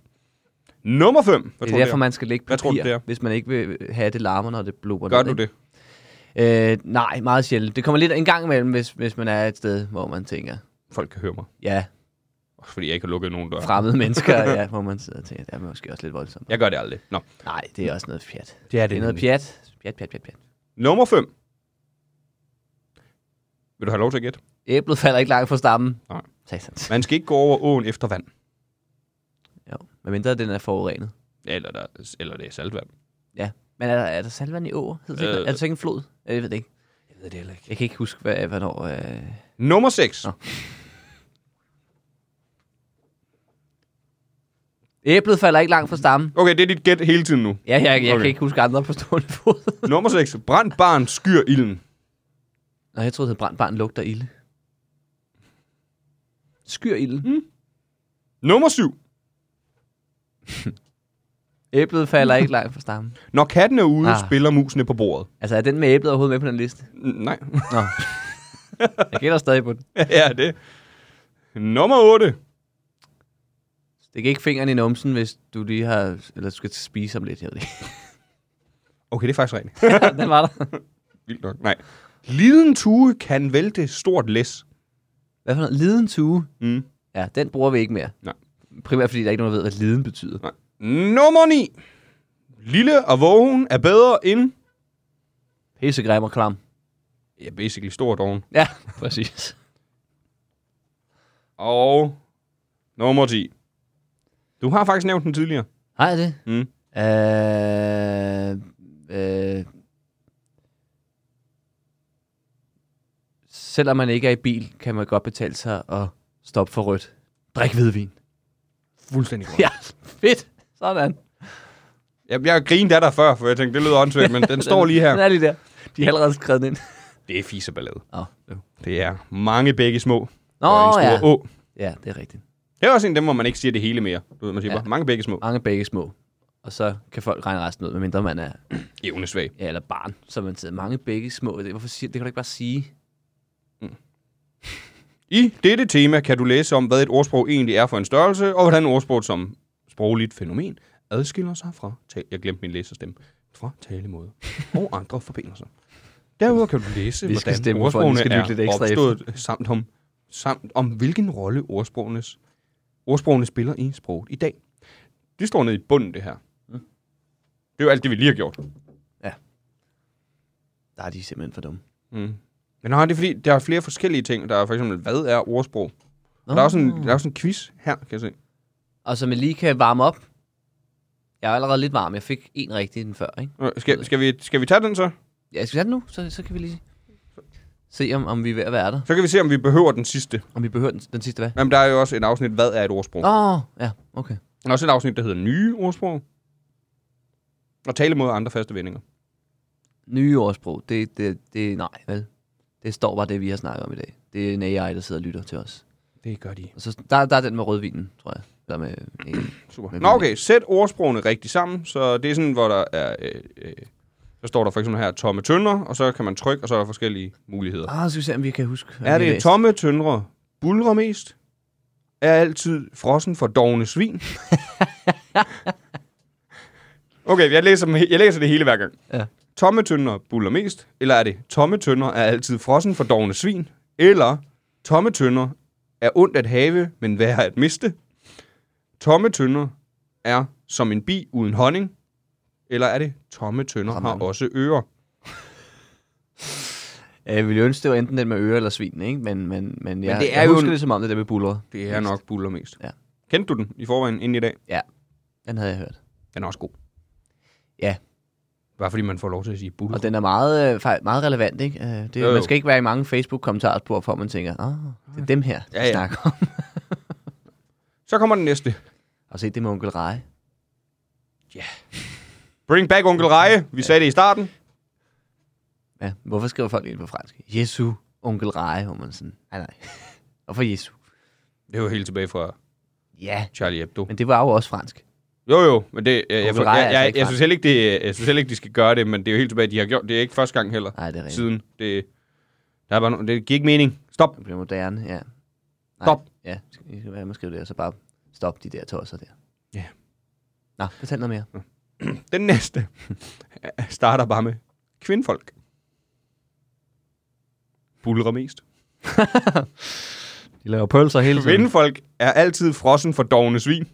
D: Nummer 5. Hvad
E: er
D: tror
E: derfor,
D: du, det
E: man skal lægge
D: Hvad tror du, det
E: papir,
D: er?
E: hvis man ikke vil have at det larmer, når det blubber.
D: er? Gør
E: ned,
D: du
E: ikke?
D: det?
E: Øh, nej, meget sjældent. Det kommer lidt en gang imellem, hvis, hvis man er et sted, hvor man tænker,
D: Folk kan høre mig.
E: ja,
D: Også fordi jeg ikke har lukket nogen dør. <laughs>
E: fremmede mennesker, ja, hvor man sidder og tænker, det er måske også lidt voldsomt.
D: Jeg gør det aldrig. Nå.
E: Nej, det er også noget pjat.
D: Det er
E: Det er noget pjat. Pjat, pjat, pjat, pjat.
D: Nummer 5. Vil du have lov til at gætte?
E: Æblet falder ikke langt fra stammen.
D: Nej.
E: Satans.
D: Man skal ikke gå over åen efter vand.
E: Jo, medmindre den er forurenet.
D: Eller, der, eller det er saltvand.
E: Ja. Men er der, er der salvand i åer? Øh.
D: Øh.
E: Er det så ikke en flod? Jeg ved det ikke.
D: Jeg ved det heller ikke.
E: Jeg kan ikke huske, hvad, hvornår... Øh...
D: Nummer 6.
E: Nå. Æblet falder ikke langt fra stammen.
D: Okay, det er dit gæt hele tiden nu.
E: Ja, jeg, jeg okay.
D: Okay.
E: kan ikke huske andre på stående <laughs> fod.
D: Nummer 6. Brændt barn skyr ilden.
E: Nå, jeg troede, det hed brændt barn lugter ilde. Skyr ilden.
D: Nummer 7.
E: Æblet falder <laughs> ikke langt fra stammen.
D: Når katten er ude,
E: Ah.
D: ah. spiller musene på bordet.
E: Altså, er den med æblet overhovedet med på den liste?
D: N- Nej. <laughs>
E: Nå. jeg gælder stadig på den.
D: ja, det. Nummer 8.
E: Det ikke fingeren i numsen, hvis du lige har... Eller du skal spise om lidt, jeg ved det
D: Okay, det er faktisk rigtigt.
E: <laughs> ikke. den var der.
D: Vildt nok. Nej. Liden tue kan vælte stort læs.
E: Hvad for noget? Liden tue?
D: Mm.
E: Ja, den bruger vi ikke mere.
D: Nej.
E: Primært fordi der ikke er nogen, der ved, hvad liden betyder.
D: Nej. Nummer 9. Lille og vågen er bedre end...
E: Pissegrim og klam.
D: Ja, basically stor doven.
E: <laughs> Ja, præcis.
D: Og nummer 10. Du har faktisk nævnt den tidligere.
E: Har jeg det?
D: Mm.
E: Øh, øh, selvom man ikke er i bil, kan man godt betale sig at stoppe for rødt. Drik hvidvin.
D: Fuldstændig godt.
E: <laughs> Ja, fedt. Sådan.
D: Jeg, jeg grinte af dig før, for jeg tænkte, det lyder åndssvagt, men
E: <laughs>
D: den står lige
E: Den
D: her.
E: er lige der. De er allerede skrevet ind.
D: Det er fiseballade.
E: Oh.
D: Det er mange begge små.
E: Nå,
D: og en
E: ja.
D: stor å.
E: Ja, det er rigtigt.
D: Det er også en af dem, hvor man ikke siger det hele mere. Du ved, man siger
E: Ja.
D: ja. bare, mange begge små.
E: Mange begge små. Og så kan folk regne resten ud, medmindre man er
D: Evnesvag.
E: ja, eller barn, så man siger, mange begge små. Det, hvorfor siger, det kan du ikke bare sige.
D: I dette tema kan du læse om, hvad et ordsprog egentlig er for en størrelse, og hvordan ordsproget som sprogligt fænomen adskiller sig fra tal- Jeg glemte min læserstemme. Fra talemåde og andre forbindelser. Derudover kan du læse,
E: Vi skal
D: hvordan
E: stemme for, at den
D: ordsprogene
E: skal
D: er
E: lytte lidt ekstra
D: opstået, samt om, samt om hvilken rolle ordsprogenes, ordsprogene spiller i sproget i dag. Det står nede i bunden, det her.
E: Mm.
D: Det er jo alt det, vi lige har gjort.
E: Der er de simpelthen for dumme.
D: Mm. Men nej, det er fordi, der er flere forskellige ting. Der er for eksempel, hvad er ordsprog? Der er, også en, der er også en quiz her, kan jeg se.
E: Og så man lige kan varme op. Jeg er allerede lidt varm. Jeg fik en rigtig den før, ikke?
D: Nå, Skal, skal, vi, skal vi tage den så?
E: Ja, skal vi have den nu? Så, så kan vi lige se, om, om vi er ved at være der.
D: Så kan vi se, om vi behøver den sidste.
E: Om vi behøver den, den sidste, hvad?
D: Jamen, der er jo også et afsnit, hvad er et ordsprog?
E: Åh, oh, ja, okay.
D: Der er også et afsnit, der hedder nye ordsprog. Og tale mod andre faste vendinger.
E: Nye ordsprog. Det, det, det, nej, vel? Det står bare det, vi har snakket om i dag. Det er en AI, der sidder og lytter til os.
D: Det gør de.
E: Og så, der, der er den med rødvinen, tror jeg. Der med, øh,
D: Super.
E: Men
D: Nå,
E: vi-
D: okay. Sæt ordsprogene rigtigt sammen. Så det er sådan, hvor der er... Øh, øh, så står der for eksempel her tomme tønder, og så kan man trykke, og så er der forskellige muligheder.
E: <clears throat> ah, så skal vi se, om vi kan huske. om
D: Er
E: vi har
D: det
E: læst.
D: tomme tøndre bulrer mest? Er altid frossen for dogne svin? <laughs> okay, jeg læser, dem he- jeg læser det hele hver gang.
E: Ja.
D: Tomme tønder buller mest? Eller er det tomme tønder er altid frossen for dogne svin? Eller tomme tønder er ondt at have, men værre at miste? Tomme tønder er som en bi uden honning? Eller er det tomme tønder har
E: Sådan.
D: også ører?
E: Ja, Jeg Øh, ville jo ønske, det var enten den med øre eller svin, ikke? Men, men, men, jeg, men
D: det
E: det
D: er
E: er jeg
D: jo
E: husker
D: en-
E: det som om, det der med buller.
D: Det er nok buller mest.
E: Ja.
D: Kendte du den i forvejen inden i dag?
E: Den havde jeg hørt.
D: Den er også god.
E: Ja.
D: Bare fordi man får lov til at sige buller.
E: Og den er meget, øh, fej- meget relevant, ikke? Øh, Det,
D: Jo,
E: jo,
D: jo.
E: man skal ikke være i mange Facebook-kommentarer, på, for man tænker, ah, det er dem her, ja,
D: Ja,
E: ja.
D: ja.
E: snakker om.
D: Så kommer den næste.
E: Og se, det med onkel Reje.
D: Bring back onkel Reje. Vi sagde det i starten.
E: Ja, hvorfor skriver folk ind på fransk? Jesu onkel Reje, hvor man sådan, nej, nej. <laughs> hvorfor Jesu?
D: Det var helt tilbage fra
E: Ja,
D: Charlie Hebdo.
E: men det var jo også fransk.
D: Jo jo, men det, jeg, jeg,
E: Onkel Reje er
D: jeg,
E: altså
D: jeg,
E: ikke
D: jeg,
E: ret.
D: synes heller ikke, det, jeg synes heller ikke, de skal gøre det, men det er jo helt tilbage, de har gjort. Det er ikke første gang heller
E: Nej, det er rigtigt.
D: siden. Det, der er bare, no- det giver ikke mening. Stop.
E: Det bliver moderne, ja. Nej,
D: Stop.
E: Ja, I skal være med at skrive det, og så bare stop de der tosser der.
D: Ja.
E: Nå, fortæl noget mere.
D: Den næste <laughs> starter bare med kvindfolk. Bulrer mest.
E: De laver pølser hele
D: Kvindfolk er altid frossen for dogne svin.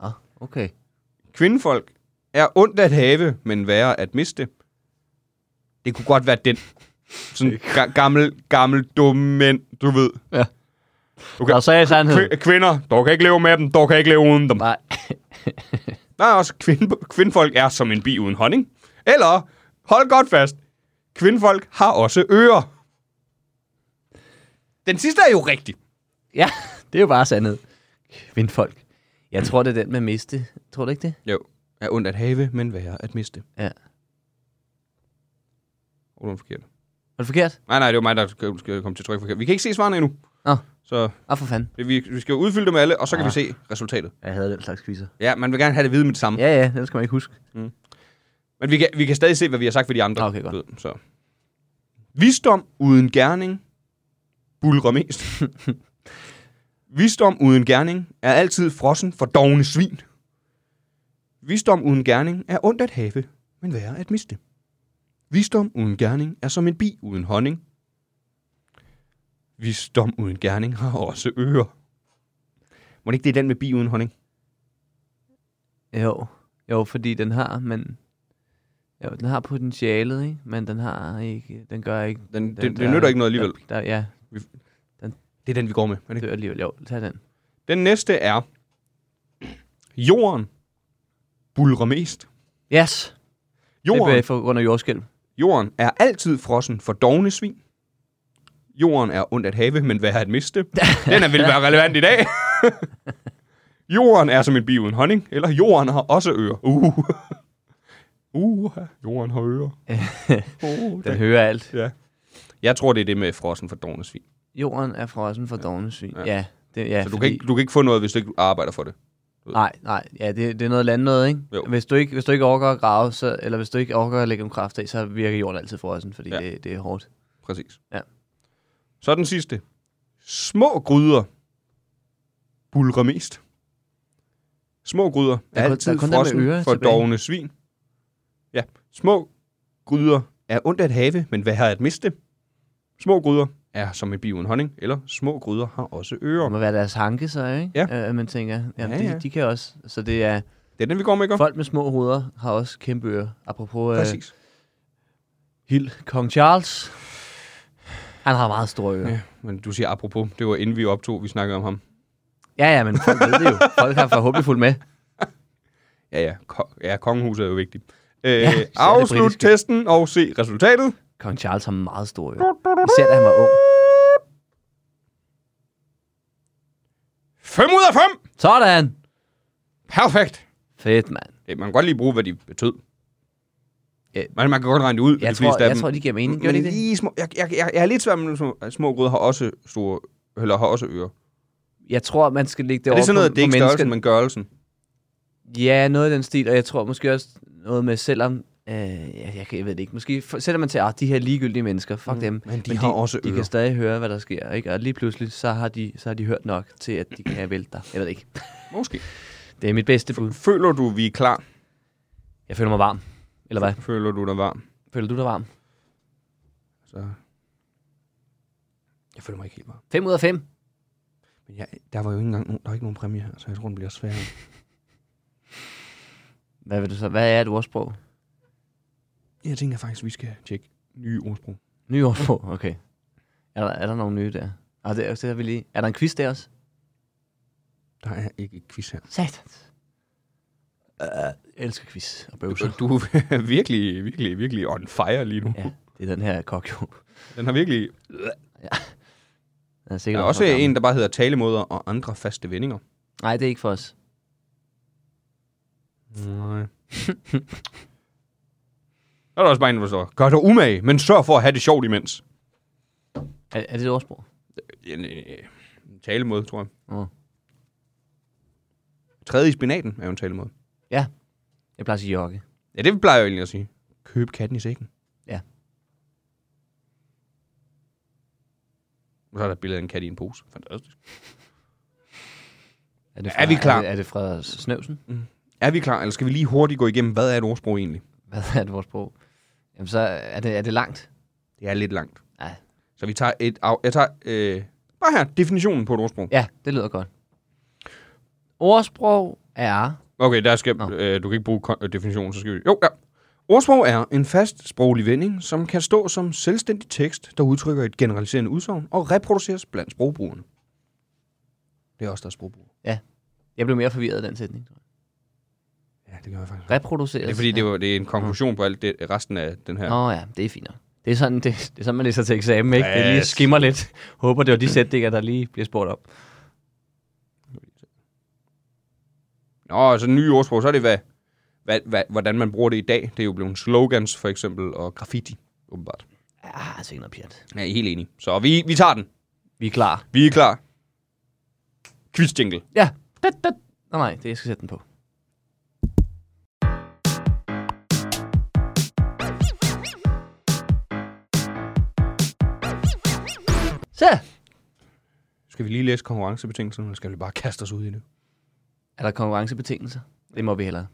E: Ah, okay.
D: Kvindefolk er ondt at have, men værre at miste. Det kunne godt være den. Sådan ga- gammel, gammel, dumme mænd, du ved.
E: Ja.
D: Okay.
E: Der sagde sandheden.
D: Kv- kvinder, dog kan ikke leve med dem, dog kan ikke leve uden dem.
E: Nej.
D: Der er også kvinde, kvindfolk er som en bi uden honning. Eller, hold godt fast, kvindfolk har også ører. Den sidste er jo rigtig.
E: Ja, <laughs> det er jo bare sandhed. Vindfolk. Jeg tror, det er den med miste. Tror du ikke det?
D: Jo, er ondt at have, men værre at miste.
E: Ja.
D: Oh, det var forkert.
E: Var det forkert?
D: Nej, nej, det var mig, der skal- skal komme til tryk forkert. Vi kan ikke se svarene endnu.
E: Nå.
D: Så
E: Åh, Ah, for fanden.
D: det- vi, vi skal jo udfylde dem alle, og så kan
E: Ah.
D: vi se resultatet.
E: Jeg havde den slags quizzer.
D: Ja, man vil gerne have det vide med det samme. Ja.
E: Ja, ja, den skal man ikke huske.
D: Men vi kan, vi kan stadig se, hvad vi har sagt for de andre.
E: Okay, godt.
D: Ved, Så. Visdom uden gerning bulrer mest.
E: <laughs>
D: Visdom uden gerning er altid frossen for dogne svin. Visdom uden gerning er ondt at have, men værre at miste. Visdom uden gerning er som en bi uden honning. Visdom uden gerning har også ører. Må det ikke det er den med bi uden honning?
E: Jo, jo, fordi den har, men... Jo, den har potentialet, ikke? Men den har ikke... Den gør ikke...
D: Den, den, det, det
E: der-
D: nytter ikke noget alligevel.
E: Der, der, ja,
D: Det er den, vi går med. Er det ikke?
E: dør alligevel. Jo, tag den.
D: Den næste er... Jorden bulrer mest.
E: Yes! Jorden. Det
D: Jorden,
E: er på grund af jordskælv.
D: jorden er altid frossen for dogne svin. Jorden er ondt at have, men hvad er at
E: <laughs>
D: miste? Den er vil være relevant i dag. <laughs> jorden er som en bi uden honning, eller jorden har også ører. Uh. <laughs> Uh, jorden har ører.
E: <laughs>
D: Uh,
E: Den hører alt.
D: ja. Jeg tror, det er det med frossen for dogne svin.
E: Jorden er frossen for dogne svin.
D: Ja.
E: Ja. ja. Det, ja
D: Så du,
E: fordi-
D: kan ikke, du kan ikke få noget, hvis du ikke arbejder for det.
E: Nej, nej. Ja, det, det er noget land noget, ikke?
D: Jo.
E: Jo. Hvis, du ikke, hvis du ikke overgår at grave, så, eller hvis du ikke overgår at lægge om kraft af, så virker jorden altid frossen, fordi
D: Ja.
E: ja. det, det er hårdt.
D: Præcis.
E: Ja.
D: Så den sidste. Små gryder bulrer mest. små gryder er,
E: er kun-
D: altid
E: der er kun den med
D: frossen
E: ører
D: for
E: tilbage.
D: dogne svin. Ja, små gryder er ondt at have, men hvad har at miste? Små gryder er som en bi uden honning, eller små gryder har også
E: Det
D: ører.
E: må være deres hanke så, ikke?
D: Ja.
E: Øh, at man tænker, jamen,
D: Ja,
E: ja,
D: ja.
E: De, de kan også. Så det er,
D: Det er den, vi går med, ikke?
E: folk med små hoveder har også kæmpe ører. Apropos øh,
D: Præcis.
E: Hild Kong Charles. Han har meget store ører.
D: Ja, men du siger apropos, det var inden vi optog, vi snakkede om ham.
E: Ja, ja, men folk ved det jo. Folk har forhåbentlig fulgt med.
D: Ja, ja, ko- ja kongehuset er jo vigtigt. Øh,
E: især det
D: afslut
E: britiske.
D: testen og se resultatet.
E: Kong Charles har meget store ører. Især da han var ung.
D: 5 ud af 5!
E: Sådan!
D: Perfekt!
E: Fedt, mand.
D: Ja, man kan godt lige bruge, hvad de betød. Øh,
E: Ja.
D: Man, man kan godt regne det ud,
E: Jeg,
D: de
E: tror,
D: fleste af
E: jeg
D: dem.
E: tror, de giver mening. Gør
D: Men
E: de det?
D: lige små, jeg, jeg, jeg, jeg er lidt svært med, at små, at små gryder har også store, eller har også ører.
E: Jeg tror, man skal lægge det,
D: er
E: over
D: det sådan noget,
E: på,
D: det er
E: på
D: ikke
E: mennesket.
D: størrelsen, men gørelsen?
E: Ja, noget i den stil, og jeg tror måske også noget med, selvom... Øh, jeg, jeg, kan- jeg ved det ikke. Måske for, selvom man tænker, at de her ligegyldige mennesker, fuck mm, dem. Men
D: de har også
E: De
D: ører.
E: kan stadig høre, hvad der sker, ikke? Og lige pludselig, så har de, så har de hørt nok til, at de kan vælte dig. Jeg ved det ikke.
D: Måske.
E: Det er mit bedste bud.
D: Føler du, vi er klar?
E: Jeg føler mig varm. Eller hvad?
D: Føler du dig varm?
E: Føler du dig varm?
D: Så... Jeg føler mig ikke helt varm.
E: 5 ud af 5.
D: Men jeg, der var jo ikke engang nogen, der er ikke nogen præmie her, så jeg tror, den bliver sværere.
E: Hvad vil du så? Hvad er et ordsprog?
D: Jeg tænker faktisk, vi skal tjekke nye ordsprog.
E: Nye ordsprog, okay. Er der, er der nogle nye der? Og det, er også det, vi lige... Er der en quiz der også?
D: Der er ikke et quiz her.
E: Satans. Uh, jeg elsker quiz og bøvser.
D: Du er <laughs> virkelig, virkelig, virkelig on fire lige nu.
E: Ja, det er den her kok jo.
D: Den har virkelig
E: Den er
D: Der
E: sikkert
D: er også
E: for gammel.
D: en, der bare hedder talemåder og andre faste vendinger.
E: Nej, det er ikke for os.
D: Nej. <laughs> der er der også bare en, der står, gør dig umage, men sørg for at have det sjovt imens.
E: Er, er det et ordsprog?
D: En, øh, en talemåde, tror jeg.
E: Mm.
D: Træde i spinaten er jo en talemåde.
E: Jeg plejer at sige jokke.
D: Ja, det plejer jeg jo egentlig at sige. Køb katten i sækken.
E: Ja.
D: Og så er der et billede af en kat i en pose. Fantastisk.
E: Er, det
D: Er vi klar?
E: Er det, er det fra Snøvsen? <laughs>
D: Er vi klar, eller skal vi lige hurtigt gå igennem, hvad er et ordsprog egentlig?
E: Hvad er det vores sprog? Jamen, så er det, er det langt.
D: Det er lidt langt.
E: Nej.
D: Så vi tager et... Af, jeg tager... Øh, bare her, definitionen på et ordsprog.
E: Ja, det lyder godt. Ordsprog er...
D: Okay, der skal,
E: Nå.
D: øh, du kan ikke bruge kon- øh, definitionen, så skal vi... Jo, ja. Ordsprog er en fast sproglig vending, som kan stå som selvstændig tekst, der udtrykker et generaliserende udsagn og reproduceres blandt sprogbrugerne. Det er også der er sprogbrugere.
E: Jeg blev mere forvirret af den sætning. tror jeg.
D: Ja, det gør jeg faktisk.
E: Reproduceres.
D: Det er fordi, det, var, det er en konklusion på alt det, resten af den her.
E: Mm. Nå ja, det er fint. nok. Det er sådan, det, det er sådan man læser til eksamen, ikke? Det lige
D: Yes.
E: skimmer lidt. Håber, det var de sætninger, der lige bliver spurgt om.
D: Nå, altså nye ordsprog, så er det, hvad, hvad, hvad, hvordan man bruger det i dag. Det er jo blevet slogans, for eksempel, og graffiti, åbenbart.
E: Ah, altså ikke noget pjat.
D: Ja, jeg er helt enig. Så vi, vi tager den.
E: Vi er klar.
D: Vi er klar. Quiz-jingle.
E: Ja. Da, da. Nå, nej, det jeg skal sætte den på. Så!
D: Skal vi lige læse konkurrencebetingelserne, eller skal vi bare kaste os ud i det?
E: Er der konkurrencebetingelser? Det må vi hellere.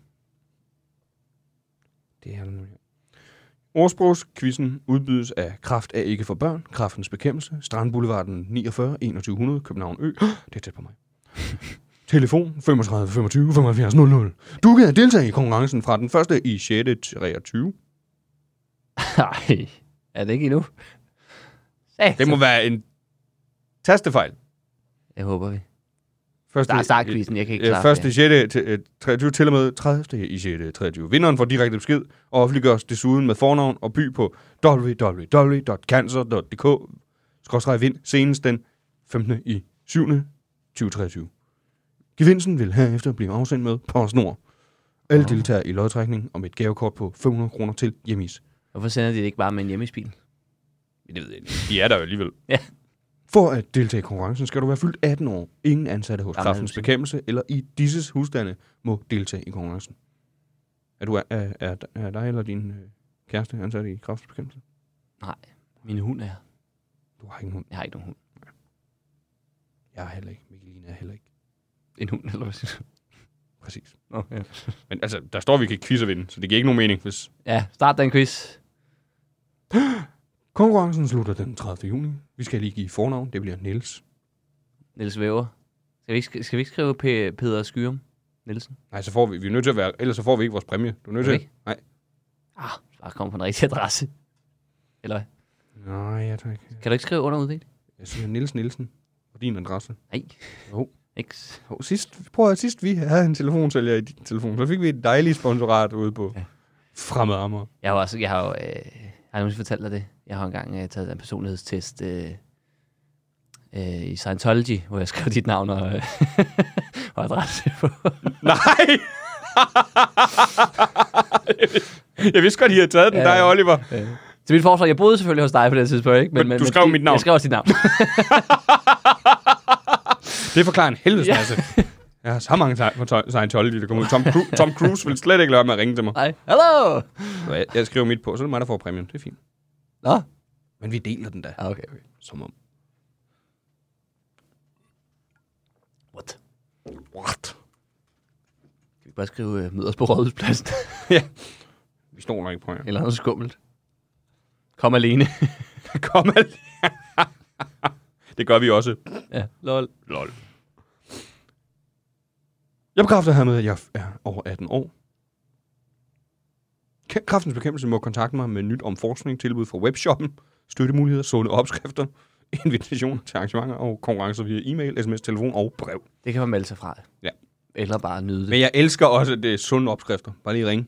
D: Det er der nu, ja. Ordsprogskvidsen udbydes af Kraft af ikke for børn, Kraftens bekæmpelse, Strandboulevarden 49, 2100, København Ø. Det er tæt på mig. <laughs> Telefon 35 25 75 00. Du kan deltage i konkurrencen fra den første i 6. til 23.
E: Nej, er det ikke endnu?
D: Det må være en tastefejl.
E: Jeg håber vi.
D: Første,
E: Der er startquizzen, jeg kan ikke
D: Øh,
E: klare
D: første i
E: flere.
D: 6. til øh, 23 til og med 30. i 6. 23. Vinderen får direkte besked og offentliggøres desuden med fornavn og by på www.cancer.dk skråstreg vind senest den 15. i 7. 2023. Gevinsten vil herefter blive afsendt med PostNord. Alle deltager i lodtrækningen om et gavekort på 500 kroner til Jemis.
E: Hvorfor sender de det ikke bare med en hjemmespil?
D: Det ved jeg ikke. De er der jo alligevel.
E: Ja.
D: For at deltage i konkurrencen skal du være fyldt 18 år. Ingen ansatte hos
E: Gammel
D: Kraftens
E: hus, ikke?
D: Bekæmpelse eller i disses husstande må deltage i konkurrencen. Er du er, er, er, er dig eller din øh, kæreste ansat i Kraftens Bekæmpelse?
E: Min hund er.
D: Du har ikke nogen.
E: Jeg har ikke nogen hund.
D: Jeg er heller ikke. Mikkelina er heller ikke.
E: En hund, eller hvad siger du?
D: Præcis.
E: Nå, ja.
D: Men altså, der står, at vi kan quizze vinde, så det giver ikke nogen mening, hvis...
E: ja, start den quiz.
D: Konkurrencen slutter den 30. juni. Vi skal lige give fornavn. Det bliver Niels.
E: Niels Væver. Skal vi ikke, skal vi ikke skrive P- Peder Skyrum Nielsen?
D: Nej, så får vi... Vi er nødt til at være... Ellers så får vi ikke vores præmie. Du er nødt til...
E: Okay.
D: Nej.
E: Ah, bare kom på den rigtige adresse. Eller hvad?
D: Nej, jeg tror ikke.
E: Kan du ikke skrive under uddelt?
D: Jeg siger Niels Nielsen. Og din adresse.
E: Nej.
D: Jo.
E: Ikke?
D: Jo, sidst, prøv at sidst vi havde en telefonsælger i din telefon, så fik vi et dejligt sponsorat ude på ja.
E: Ja.
D: Fremad Amager.
E: Jeg har også, jeg har jo, øh, har jeg nogensinde fortalt dig det? Jeg har engang øh, taget en personlighedstest øh, øh, i Scientology, hvor jeg skrev dit navn og, øh, <laughs> og adresse på.
D: <laughs> Nej! <laughs> jeg vidste godt, I havde taget den,
E: Ja.
D: dig Oliver.
E: Til mit forsvar, jeg boede selvfølgelig hos dig på det tidspunkt, ikke?
D: Men du skrev
E: det-
D: mit navn.
E: Jeg skrev også dit navn.
D: Det forklarer en helvedes masse. Jeg har så mange sej- for- Scientology, der kommer ud. Tom, Cru- Tom Cruise vil slet ikke lade være med at ringe til mig.
E: Nej, hello!
D: Så jeg, jeg skriver mit på, så er det mig, der får præmien. Det er fint.
E: Nå,
D: Men vi deler den da,
E: ah, okay, okay.
D: som om.
E: What? Kan
D: What?
E: vi bare skrive øh, møders på rådhuspladsen? <laughs>
D: Vi stoler ikke på jer.
E: Eller noget skummelt. Kom alene. <laughs>
D: Kom al- <laughs> Det gør vi også.
E: ja, lol.
D: Lol. Jeg bekræfter hermed, at jeg er over 18 år. K- Kræftens Bekæmpelse må kontakte mig med nyt om forskning, tilbud fra webshoppen, støttemuligheder, sunde opskrifter, <laughs> invitationer til arrangementer og konkurrencer via e-mail, sms, telefon og brev.
E: Det kan man melde sig fra.
D: Ja.
E: Eller bare nyde det.
D: Men jeg elsker også, at det er sunde opskrifter. Bare lige ringe.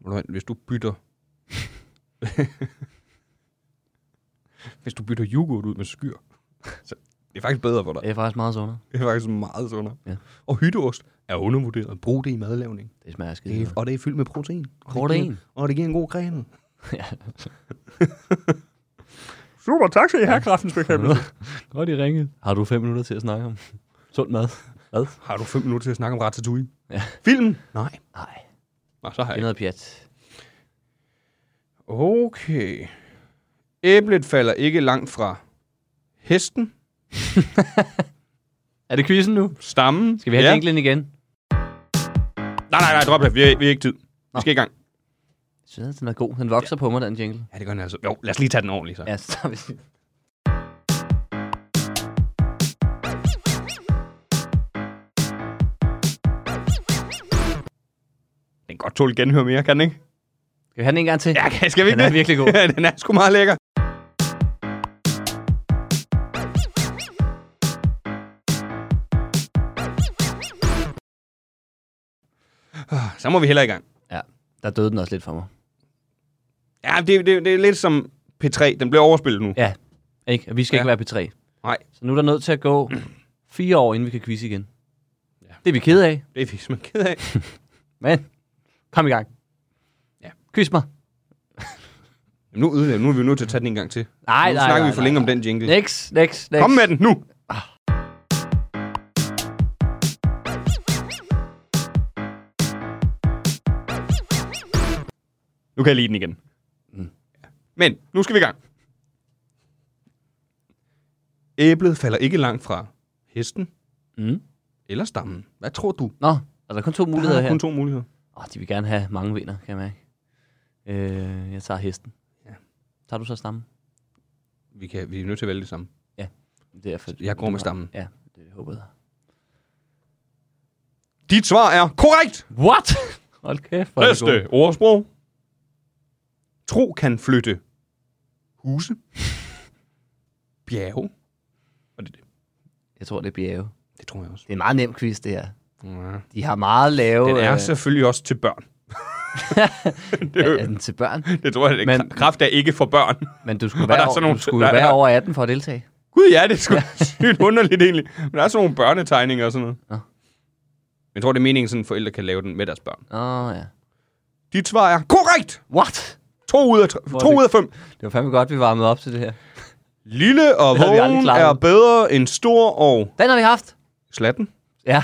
D: Ved du hvad, Hvis du bytter... <laughs> Hvis du bytter yoghurt ud med skyr, så det er faktisk bedre for dig.
E: Det er faktisk meget sundere.
D: Det er faktisk meget sundere.
E: Ja.
D: Og hytteost er undervurderet. Brug det i madlavning.
E: Det smager
D: Det
E: skide.
D: er,
E: godt.
D: og det er fyldt med protein. Og Det
E: Protein.
D: giver, og det giver en god <laughs> gren.
E: Ja.
D: Super, tak skal I have, kraftens bekæmpelse.
E: Godt, I ringede. Har du fem minutter til at snakke om <laughs> sund mad? Hvad?
D: Har du fem minutter til at snakke om Ratatouille?
E: Ja.
D: <laughs> Filmen? Nej.
E: Nej,
D: Nå, så har
E: det
D: jeg
E: er
D: ikke.
E: noget pjat.
D: Okay. Æblet falder ikke langt fra hesten,
E: Er det quizzen nu?
D: stammen.
E: Skal vi have ja. jinglen igen? Jeg
D: Nej, nej, nej, drop det. Vi har, vi har ikke tid. Vi
E: Nå.
D: skal i gang.
E: synes, den er god. Den vokser ja. på mig, den jingle.
D: Ja, det gør den altså. Jo, lad os lige tage den ordentligt så.
E: Ja, så er vi...
D: Den kan godt tåle genhør mere, kan den ikke?
E: Skal vi have den en gang til?
D: <laughs> Ja, kan- skal vi ikke
E: Den er
D: det?
E: virkelig god.
D: <laughs> Ja, den er sgu meget lækker. Ah, Så må vi heller i gang.
E: ja. Der døde den også lidt for mig.
D: Ja, det, det, det er lidt som P3. Den bliver overspillet nu.
E: Ja, ikke? Og vi skal
D: Ja.
E: ja. ikke være på tre.
D: Nej.
E: Så nu er der nødt til at gå <clears throat> fire år, inden vi kan quiz igen. Ja. Det er vi ked af,
D: Det er vi simpelthen ked af.
E: men kom i gang.
D: Ja.
E: Quiz mig.
D: Jamen, nu, ødelægger- nu er vi nødt til at tage den en gang til.
E: Nej,
D: nu
E: nej,
D: snakker
E: nej,
D: vi for
E: nej,
D: længe
E: nej.
D: om den jingle.
E: Next, next, next.
D: Kom med den nu! Nu kan jeg lide den igen. Mm. Men nu skal vi i gang. Æblet falder ikke langt fra hesten
E: Mm.
D: eller stammen. Hvad tror du?
E: Nå, er der kun to muligheder
D: Der er
E: her?
D: kun to muligheder.
E: Åh, de vil gerne have mange vinder, kan jeg mærke. Øh, jeg tager hesten.
D: Ja.
E: Tager du så stammen?
D: Vi, kan, vi er nødt til at vælge det samme.
E: Det er for,
D: Jeg går med stammen.
E: Ja, det håber jeg.
D: Dit svar er korrekt!
E: What? <laughs> Hold kæft, hvor er det god.
D: Næste ordsprog. Tro kan flytte huse, <laughs> bjerge. Og det, er det.
E: Jeg tror, det er bjerge.
D: det tror jeg også.
E: Det er en meget nem quiz, det her.
D: Ja.
E: De har meget lave...
D: Den er
E: øh,
D: selvfølgelig også til
E: <laughs>
D: børn. <laughs> det, er
E: er, er
D: jo-
E: den til børn.
D: det tror jeg,
E: Men-
D: Men... kraft er ikke for børn. <laughs>
E: Men du skulle
D: Og der
E: være,
D: er sådan
E: over,
D: nogle-
E: du skulle
D: der-
E: være
D: der-
E: over 18 for at deltage.
D: Gud ja, det er sgu sygt underligt egentlig. Men der er sådan nogle børnetegninger og sådan noget.
E: Nå.
D: Men Jeg tror, det er meningen, sådan, at forældre kan lave den med deres børn.
E: Åh, oh, ja.
D: Dit svar er korrekt!
E: What?
D: To ud af, tre,
E: Hvor er
D: to
E: det-
D: ud af fem.
E: Det var fandme godt, vi varmede op til det her.
D: Lille og
E: Den har vi aldrig
D: vågen
E: klaret.
D: er bedre end stor og
E: Den har vi haft.
D: slatten.
E: Ja.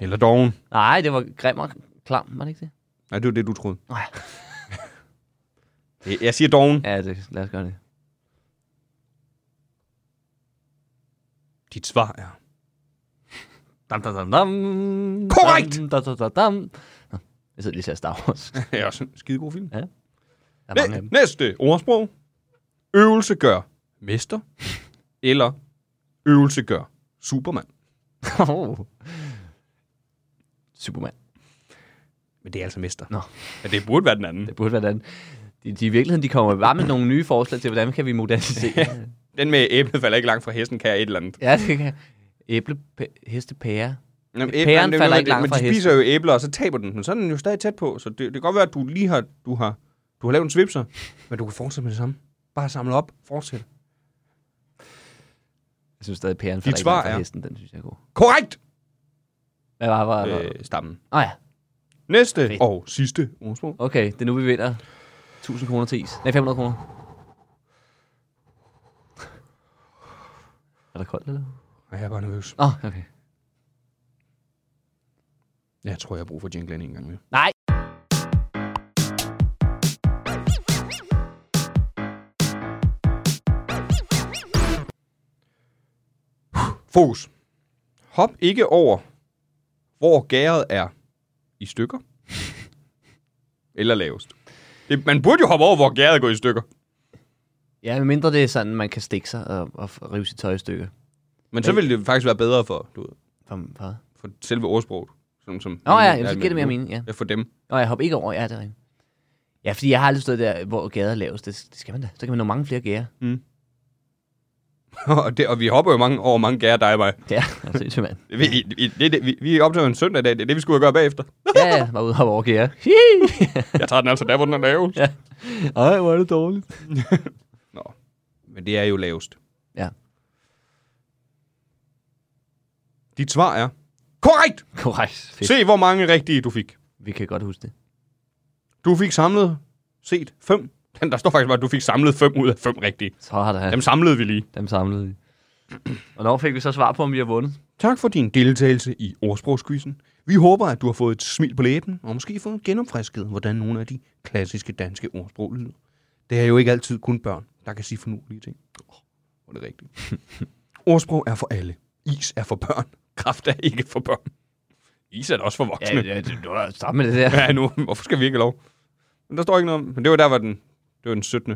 D: Eller doven.
E: Nej, det var grim og klam, var det ikke det?
D: Nej, det var det, du troede.
E: Nå ja.
D: Jeg- Jeg siger doven.
E: Ja, det, lad os gøre det.
D: Dit svar er... <laughs>
E: Dam, dam, dam, dam.
D: Korrekt!
E: Dam, dam, dam, dam, dam. Nå, Jeg sidder lige til at Star Wars. Der
D: Det er også en skidegod film.
E: er mange af
D: Næ- <laughs>
E: dem.
D: næste ordsprog. Øvelse gør mester. Eller øvelse gør Superman.
E: Åh. Oh. Superman.
D: Men det er altså mester.
E: Nå.
D: Men det burde være den anden.
E: Det burde være den. De, de i virkeligheden, de kommer bare med nogle nye forslag til, hvordan kan vi modernisere.
D: Den med æblet falder ikke langt fra hesten, kan jeg et eller andet.
E: ja, det kan. Æble, pæ- hestepære.
D: Nå, men
E: Pæren
D: æbler, det er jo
E: falder
D: noget,
E: ikke langt
D: men
E: fra
D: de spiser jo æbler, og så taber den. Men så er den jo stadig tæt på. Så det, det kan godt være, at du lige har, du har, du har lavet en svipser, men du kan fortsætte med det samme. Bare samle op. Fortsæt.
E: Jeg synes stadig, pæren
D: Dit
E: falder ikke
D: svar
E: langt fra
D: er-
E: hesten. Den synes jeg er god.
D: Korrekt!
E: Hvad var, var, var? Øh.
D: Øh, stammen.
E: Oh, ja.
D: Næste
E: Fedt.
D: og sidste ordsprog.
E: Okay, det er nu, vi vinder 1000 kroner til is. Nej, 500 kroner. Er der koldt, eller?
D: Ej, jeg er bare nervøs.
E: Åh, oh, okay.
D: Jeg tror, jeg har brug for jinglen en gang mere.
E: Nej.
D: Fokus. Hop ikke over, hvor gæret er i
E: <laughs>
D: stykker. Eller lavest. Det, man burde jo hoppe over, hvor gæret går i stykker.
E: Ja, medmindre det er sådan, man kan stikke sig og, og f- rive sit tøj i stykker.
D: Men så
E: Men-
D: ville det faktisk være bedre for, du ved,
E: Fra- fra-
D: for selve ordsproget. Som, som
E: Nå ja, jamen, så giver det mere mening, ja.
D: Ja, for dem.
E: Nå, jeg hopper ikke over, ja, det er rigtigt. Ja, fordi jeg har aldrig stået der, hvor gader laves. Det, det skal man da. Så kan man nå mange flere gærer.
D: <laughs> og, det, og vi hopper jo mange, over mange gærer, dig og mig.
E: <laughs> Ja, altså, mand.
D: Vi, vi, det, det, vi, vi optager en søndag i dag, det er det, vi skulle gøre bagefter.
E: Ja, ja, var ude og hoppe over gærer. <laughs>
D: Jeg tager den altså der, hvor den er lavest.
E: Ej, hvor er det dårligt.
D: Nå, men det er jo lavest.
E: Ja,
D: Dit svar er korrekt!
E: korrekt. Fedt.
D: Se, hvor mange rigtige du fik.
E: Vi kan godt huske det.
D: Du fik samlet set fem. Den, der står faktisk bare, at du fik samlet fem ud af fem rigtige.
E: Så har der
D: Dem samlede vi lige.
E: dem samlet i. <clears throat> Hvornår fik vi så svar på, om vi har vundet?
D: Tak for din deltagelse i ordsprogsquizzen. Vi håber, at du har fået et smil på læben, og måske fået genopfrisket, hvordan nogle af de klassiske danske ordsprog lyder. Det er jo ikke altid kun børn, der kan sige fornuelige ting. Åh, oh, det er rigtigt.
E: <laughs>
D: Ordsprog er for alle. Is er for børn. Kraft er ikke for børn. Is er da også for voksne.
E: Ja, ja det, du har sammen med det der.
D: Ja, nu, hvorfor skal vi ikke have lov? Men der står ikke noget om, men det var der, var den, det var den 17.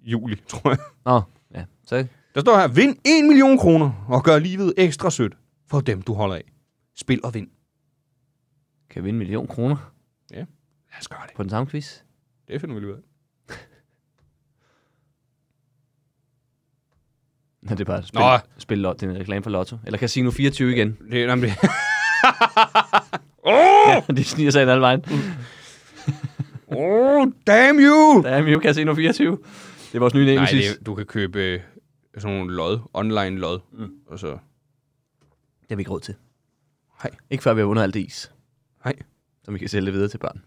D: juli, tror jeg.
E: Nå, ja. Så
D: Der står her, vind 1 million kroner og gør livet ekstra sødt for dem, du holder af. Spil og vind.
E: kan jeg vinde en million kroner
D: Lad os gøre det.
E: på den samme quiz.
D: Det finder vi lige ud af.
E: Nå, det er bare spil,
D: Nå.
E: spil lot, det er en reklame for Lotto. Eller Casino 24 igen.
D: Det, jamen, det. oh,
E: <laughs> De sniger sig ind alle vejen.
D: oh, damn you!
E: Der er Mio Casino 24. Det er vores nye
D: Nej,
E: nemesis.
D: det, er- du kan købe øh, sådan nogle lod, online lod. Mm. Og så,
E: det har vi ikke råd til.
D: hej,
E: Ikke før vi har vundet alt det is,
D: hej.
E: som vi kan sælge det videre til børn.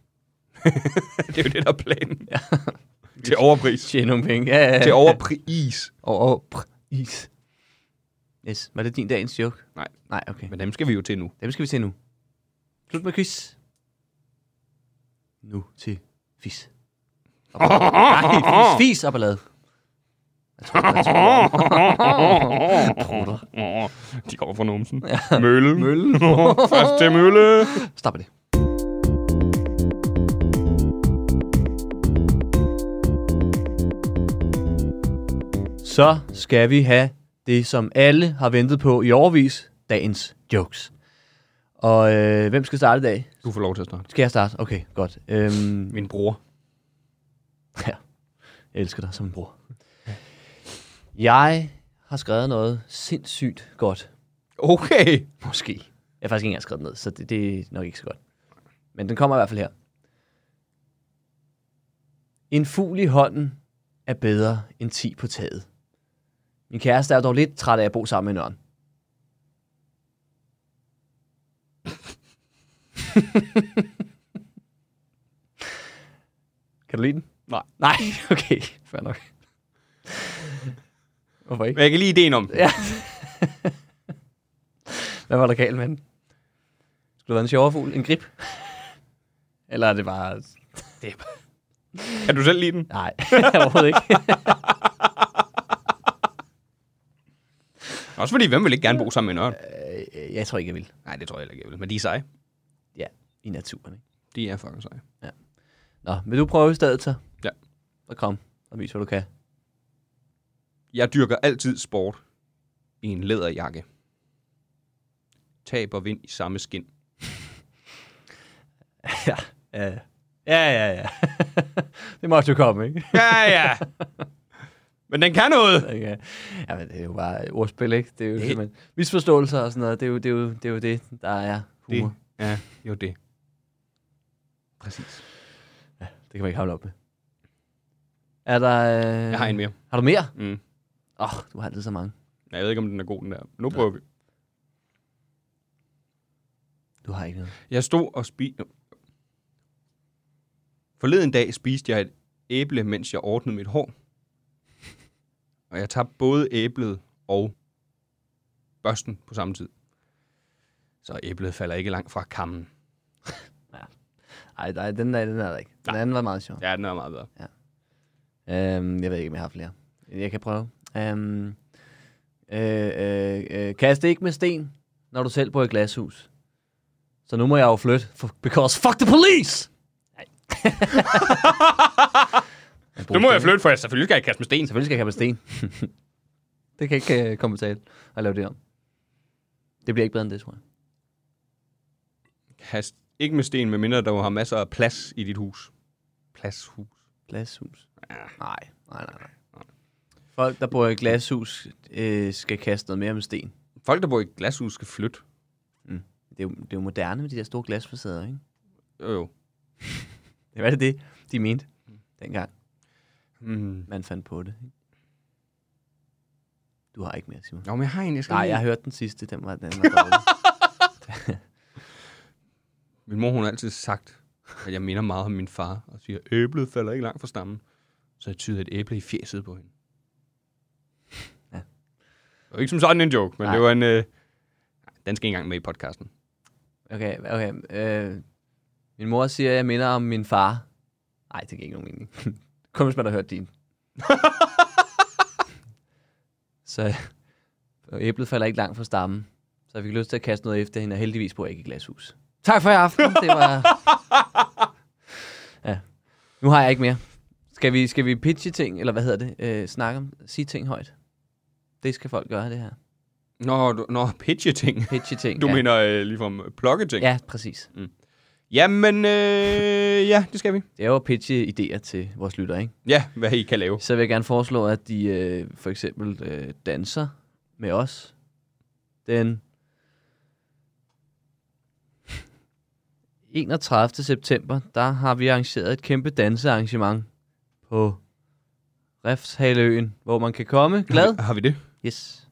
D: <laughs> Det er jo det, der er planen. Ja. <laughs> Til overpris.
E: Tjene nogle penge. Ja, ja, ja.
D: Til overpris.
E: Og over pr- is. Yes. Var det din dagens joke?
D: Nej.
E: Nej, okay.
D: Men dem skal vi jo til nu.
E: Dem skal vi til nu. Slut med quiz. Nu til fis. Og ballade. Nej, fis, fis og ballade. Jeg tror, jeg <laughs> tror, Prutter.
D: De kommer fra numsen. Ja. Mølle. <laughs>
E: Møllen.
D: Først til Mølle.
E: Stop med det. Så skal vi have det, som alle har ventet på i overvis, dagens jokes. Og øh, hvem skal starte i dag?
D: Du får lov til at starte.
E: Skal jeg starte? Okay, godt. Øhm,
D: Min bror.
E: ja. Jeg elsker dig som en bror. Jeg har skrevet noget sindssygt godt.
D: Okay.
E: Måske. Jeg har faktisk ikke engang skrevet den ned, så det, det er nok ikke så godt. Men den kommer i hvert fald her. En fugl i hånden er bedre end ti på taget. Min kæreste er dog lidt træt af at bo sammen med en ørn. <laughs> kan du lide den?
D: Nej.
E: Nej, <laughs> okay. Fair nok. Hvorfor ikke?
D: Men jeg kan lide ideen om det.
E: Ja. Hvad var der galt med den? Skulle det være en sjovere fugl? En grib? Eller er det bare...
D: Kan du selv lide den?
E: Nej, <laughs> overhovedet ikke.
D: Også fordi, hvem vil ikke gerne bo sammen med en ørn?
E: Øh, jeg tror ikke, jeg vil.
D: Nej, det tror jeg heller ikke, jeg vil. Men de er seje.
E: Ja, i naturen. Ikke?
D: De er fucking seje.
E: Nå, vil du prøve i stedet så?
D: Ja.
E: Så kom og vis, hvad du kan.
D: Jeg dyrker altid sport i en læderjakke. Tab og vind i samme skin.
E: Ja, ja, ja, ja. ja. <laughs> det måtte du komme, ikke?
D: Ja, ja. Men den kan noget.
E: <laughs> ja, ja, men det er jo bare ordspil, ikke? Det er jo simpelthen misforståelser og sådan noget. Det er jo det, er jo, det, er jo det der er humor.
D: Det
E: Det.
D: er jo det. Præcis.
E: det kan man ikke havle op med. Er der... Øh...
D: Jeg har en mere.
E: Har du mere?
D: Mm.
E: Åh, oh, du har altid så mange.
D: Ja, Jeg ved ikke, om den er god, den der. Nu prøver vi.
E: Du har ikke noget.
D: Jeg stod og spiste... Forleden dag spiste jeg et æble, mens jeg ordnede mit hår. Og jeg tabte både æblet og børsten på samme tid. Så æblet falder ikke langt fra kammen.
E: Ej, nej, den der, den er der ikke. Den anden var meget sjov.
D: Ja, den er meget bedre.
E: Ja. Øhm, jeg ved ikke, om jeg har flere. Jeg kan prøve. Øhm, øh, øh, øh, kast ikke med sten, når du selv bor i glashus. Så nu må jeg jo flytte, for, because fuck the police! <laughs> Nej.
D: Nu må jeg flytte, for jeg selvfølgelig skal jeg kaste med sten.
E: Selvfølgelig skal jeg have med sten. <laughs> det kan ikke øh, komme på tale at lave det om. Det bliver ikke bedre end det, tror jeg.
D: Kast ikke med sten, medmindre der har masser af plads i dit hus. Pladshus.
E: Glashus? Nej, nej, nej, nej. Folk, der bor i glashus, øh, skal kaste noget mere med sten.
D: Folk, der bor i et glashus, skal flytte.
E: Det er, jo, det er jo moderne med de der store glasfacader, ikke?
D: Jo, jo.
E: Det var det, det de mente dengang,
D: Mm.
E: man fandt på det. Ikke? Du har ikke mere, Simon.
D: Nå, men jeg har en, jeg skal
E: Nej,
D: lige-
E: jeg har hørt den sidste. Den var, den var dårlig.
D: Min mor, hun har altid sagt, at jeg minder meget om min far, og siger, æblet falder ikke langt fra stammen. Så jeg tyder et æble i fjeset på hende.
E: Ja.
D: Det var ikke som sådan en joke, men Nej.
E: Nej.
D: det var en... Øh... nej, Den skal ikke engang med i podcasten.
E: Okay, okay. Øh, min mor siger, at jeg minder om min far. Nej, det giver ikke nogen mening. <laughs> Kun hvis man har
D: <laughs>
E: hørt din. så og æblet falder ikke langt fra stammen. Så jeg fik lyst til at kaste noget efter hende, og heldigvis bor jeg ikke i glashus. Tak for i aften. Det
D: <laughs>
E: var... Ja. Nu har jeg ikke mere. Skal vi, skal vi pitche ting, eller hvad hedder det? Øh, snakke om, sige ting højt. Det skal folk gøre, det her.
D: Nå, du, nå pitche ting.
E: Pitche ting.
D: Du
E: ja.
D: ja. mener øh, ligefrem øh, plukke ting?
E: Ja, præcis.
D: Jamen, øh, ja, det skal vi.
E: Det er jo at pitche idéer til vores lytter, ikke?
D: Ja, hvad I kan lave.
E: Så vil jeg gerne foreslå, at de øh, for eksempel øh, danser med os den 31. september. Der har vi arrangeret et kæmpe dansearrangement på Refshaleøen, hvor man kan komme glad.
D: Har vi det?
E: Yes.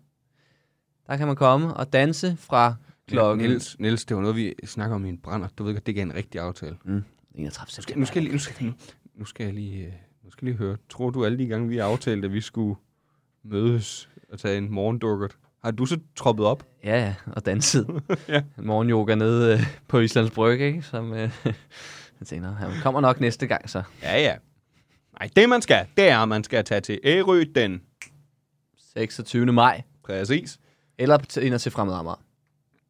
E: Der kan man komme og danse fra klokken
D: Niels, Niels, det var noget, vi snakker om i en brænder. Du ved godt, det ikke er en rigtig aftale.
E: 31.
D: Nu skal, nu
E: september.
D: skal, jeg lige- nu skal, nu, nu skal jeg lige, øh, nu skal jeg lige høre. Tror du alle de gange, vi aftalte, at vi skulle mødes og tage en morgendukkert, har du så troppet op?
E: Ja, ja, og danset.
D: Ja.
E: ja. Morgenyoga nede øh, på Islands Brygge, ikke? Som, øh, <laughs> han tænker, han kommer nok næste gang, så.
D: Ja, ja. Nej, det man skal, det er, at man skal tage til Ærø den.
E: 26. maj.
D: Præcis.
E: Eller t- ind og se fremmed Amager.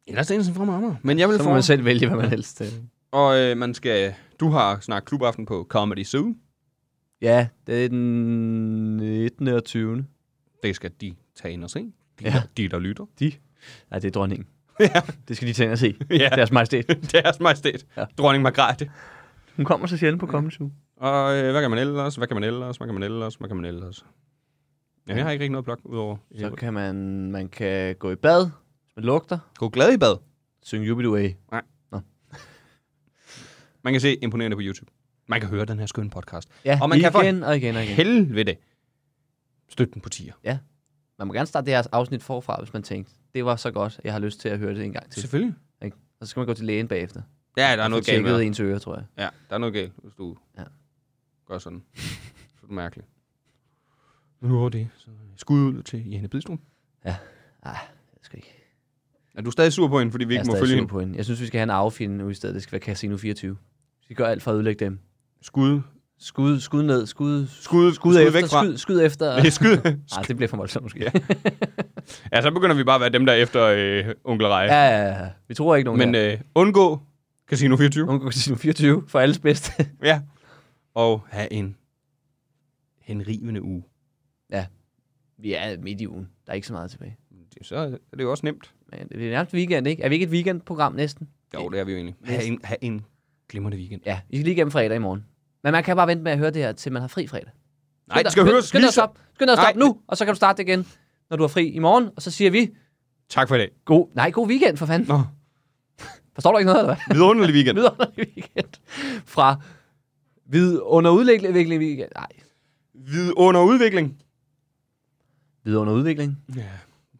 D: Ellers er det sådan fra mig. Men jeg vil
E: Så
D: få...
E: må man selv vælge, hvad man helst. øh.
D: Og øh, man skal... Du har snart klubaften på Comedy Zoo.
E: Ja, det er den 19. og 20.
D: Det skal de tage ind og se. De,
E: Ja.
D: ja. der, de der lytter.
E: <laughs> De? Nej, det er dronningen. Det skal de tage ind og se.
D: <laughs> Ja.
E: Deres majestæt.
D: Deres majestæt. Ja.
E: Ja.
D: Dronning Margrethe.
E: Hun kommer så sjældent på Comedy Zoo.
D: Og øh, hvad kan man ellers? Hvad kan man ellers? Hvad kan man ellers? Hvad kan man ellers? Ja, jeg har ikke rigtig noget blok udover.
E: Så kan man, man kan gå i bad, hvis man lugter,
D: Gå glad i bad.
E: synge Jubid Away.
D: Man kan se imponerende på YouTube. Man kan høre den her skønne podcast.
E: Ja,
D: Og man kan for-
E: igen og igen og igen.
D: Helvede. Støt den på tier.
E: Man må gerne starte det her afsnit forfra, hvis man tænkte, det var så godt, jeg har lyst til at høre det en gang til.
D: Selvfølgelig.
E: Ikke? Og så skal man gå til lægen bagefter.
D: Ja, der er noget galt med
E: med
D: dig.
E: ens øre, tror jeg.
D: Ja, der er noget galt, hvis du ja.
E: Ja.
D: gør <laughs> sådan. Så er det mærkeligt. Men nu er det. Så skud ud til Janne Bidstrup.
E: Jeg skal ikke.
D: Er du stadig sur på hende, fordi vi
E: Jeg Altså, er
D: ikke må
E: stadig
D: følge
E: sur
D: hende?
E: på hende. Jeg synes, vi skal have en affinde nu i stedet. Det skal være Casino 24. Vi skal gøre alt for at ødelægge dem.
D: Skud.
E: Skud, skud ned, skud,
D: Skud, skud, skud
E: efter,
D: væk fra. <laughs>
E: Skud, skud efter.
D: Skud. skud.
E: Ej, det bliver for voldsomt måske.
D: Ja.
E: Ja,
D: Ja, så begynder vi bare at være dem, der er efter øh, onkel Rej. Ja,
E: ja, ja, ja. Vi tror ikke nogen
D: Men
E: der.
D: øh, undgå Casino 24.
E: Nogen går til Casino 24 for alles bedste. <laughs>
D: Ja. Og have en henrivende uge.
E: vi er midt i ugen. Der er ikke så meget tilbage.
D: Det- Så er det jo også nemt.
E: Men det er nærmest weekend, ikke? Er vi ikke et weekendprogram næsten?
D: Jo, det er vi jo egentlig. Ha' en, ha en glimrende weekend.
E: Ja, vi skal lige igennem fredag i morgen. Men man kan bare vente med at høre det her, til man har fri fredag.
D: Nej, det skal høres
E: Skynd dig
D: lige
E: at stoppe. Skynd dig at
D: Nej.
E: stoppe nu, og så kan du starte det igen, når du har fri i morgen. Og så siger vi,
D: Tak for i dag.
E: god, nej, god weekend for fanden.
D: Nå,
E: Forstår du ikke noget, eller hvad?
D: vidunderlig weekend.
E: Vidunderlig weekend. Fra vidunderudvikling weekend. Nej,
D: Vidunder udvikling.
E: vidunderudvikling.
D: Ja.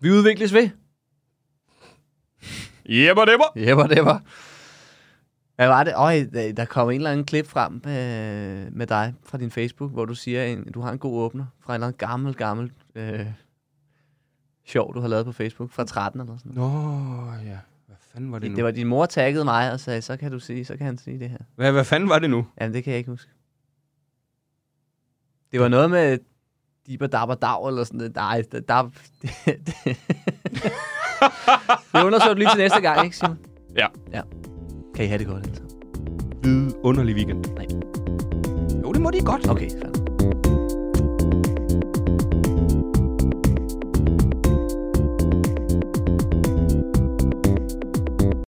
E: Vi udvikles ved.
D: Jepper, depper.
E: Jepper, det var. Hvad var det? Øj, der- der kom en eller anden klip frem øh, med dig fra din Facebook, hvor du siger, en, du har en god åbner fra en eller anden gammel, gammel øh, sjov, du har lavet på Facebook fra 13 eller sådan noget.
D: Nå, ja. Hvad fanden var det nu?
E: Det var din mor taggede mig og sagde, så kan du sige, så kan han sige det her.
D: Hvad, hvad fanden var det nu?
E: Jamen, det kan jeg ikke huske. Det var noget med Dibber Dabber Dag eller sådan noget. Nej, da, da, det, <laughs> det. det undersøger du lige til næste gang, ikke Simon?
D: Ja.
E: ja. Kan I have det godt, altså?
D: Vidunderlig weekend.
E: Nej.
D: Jo, det må de godt.
E: Okay, fair.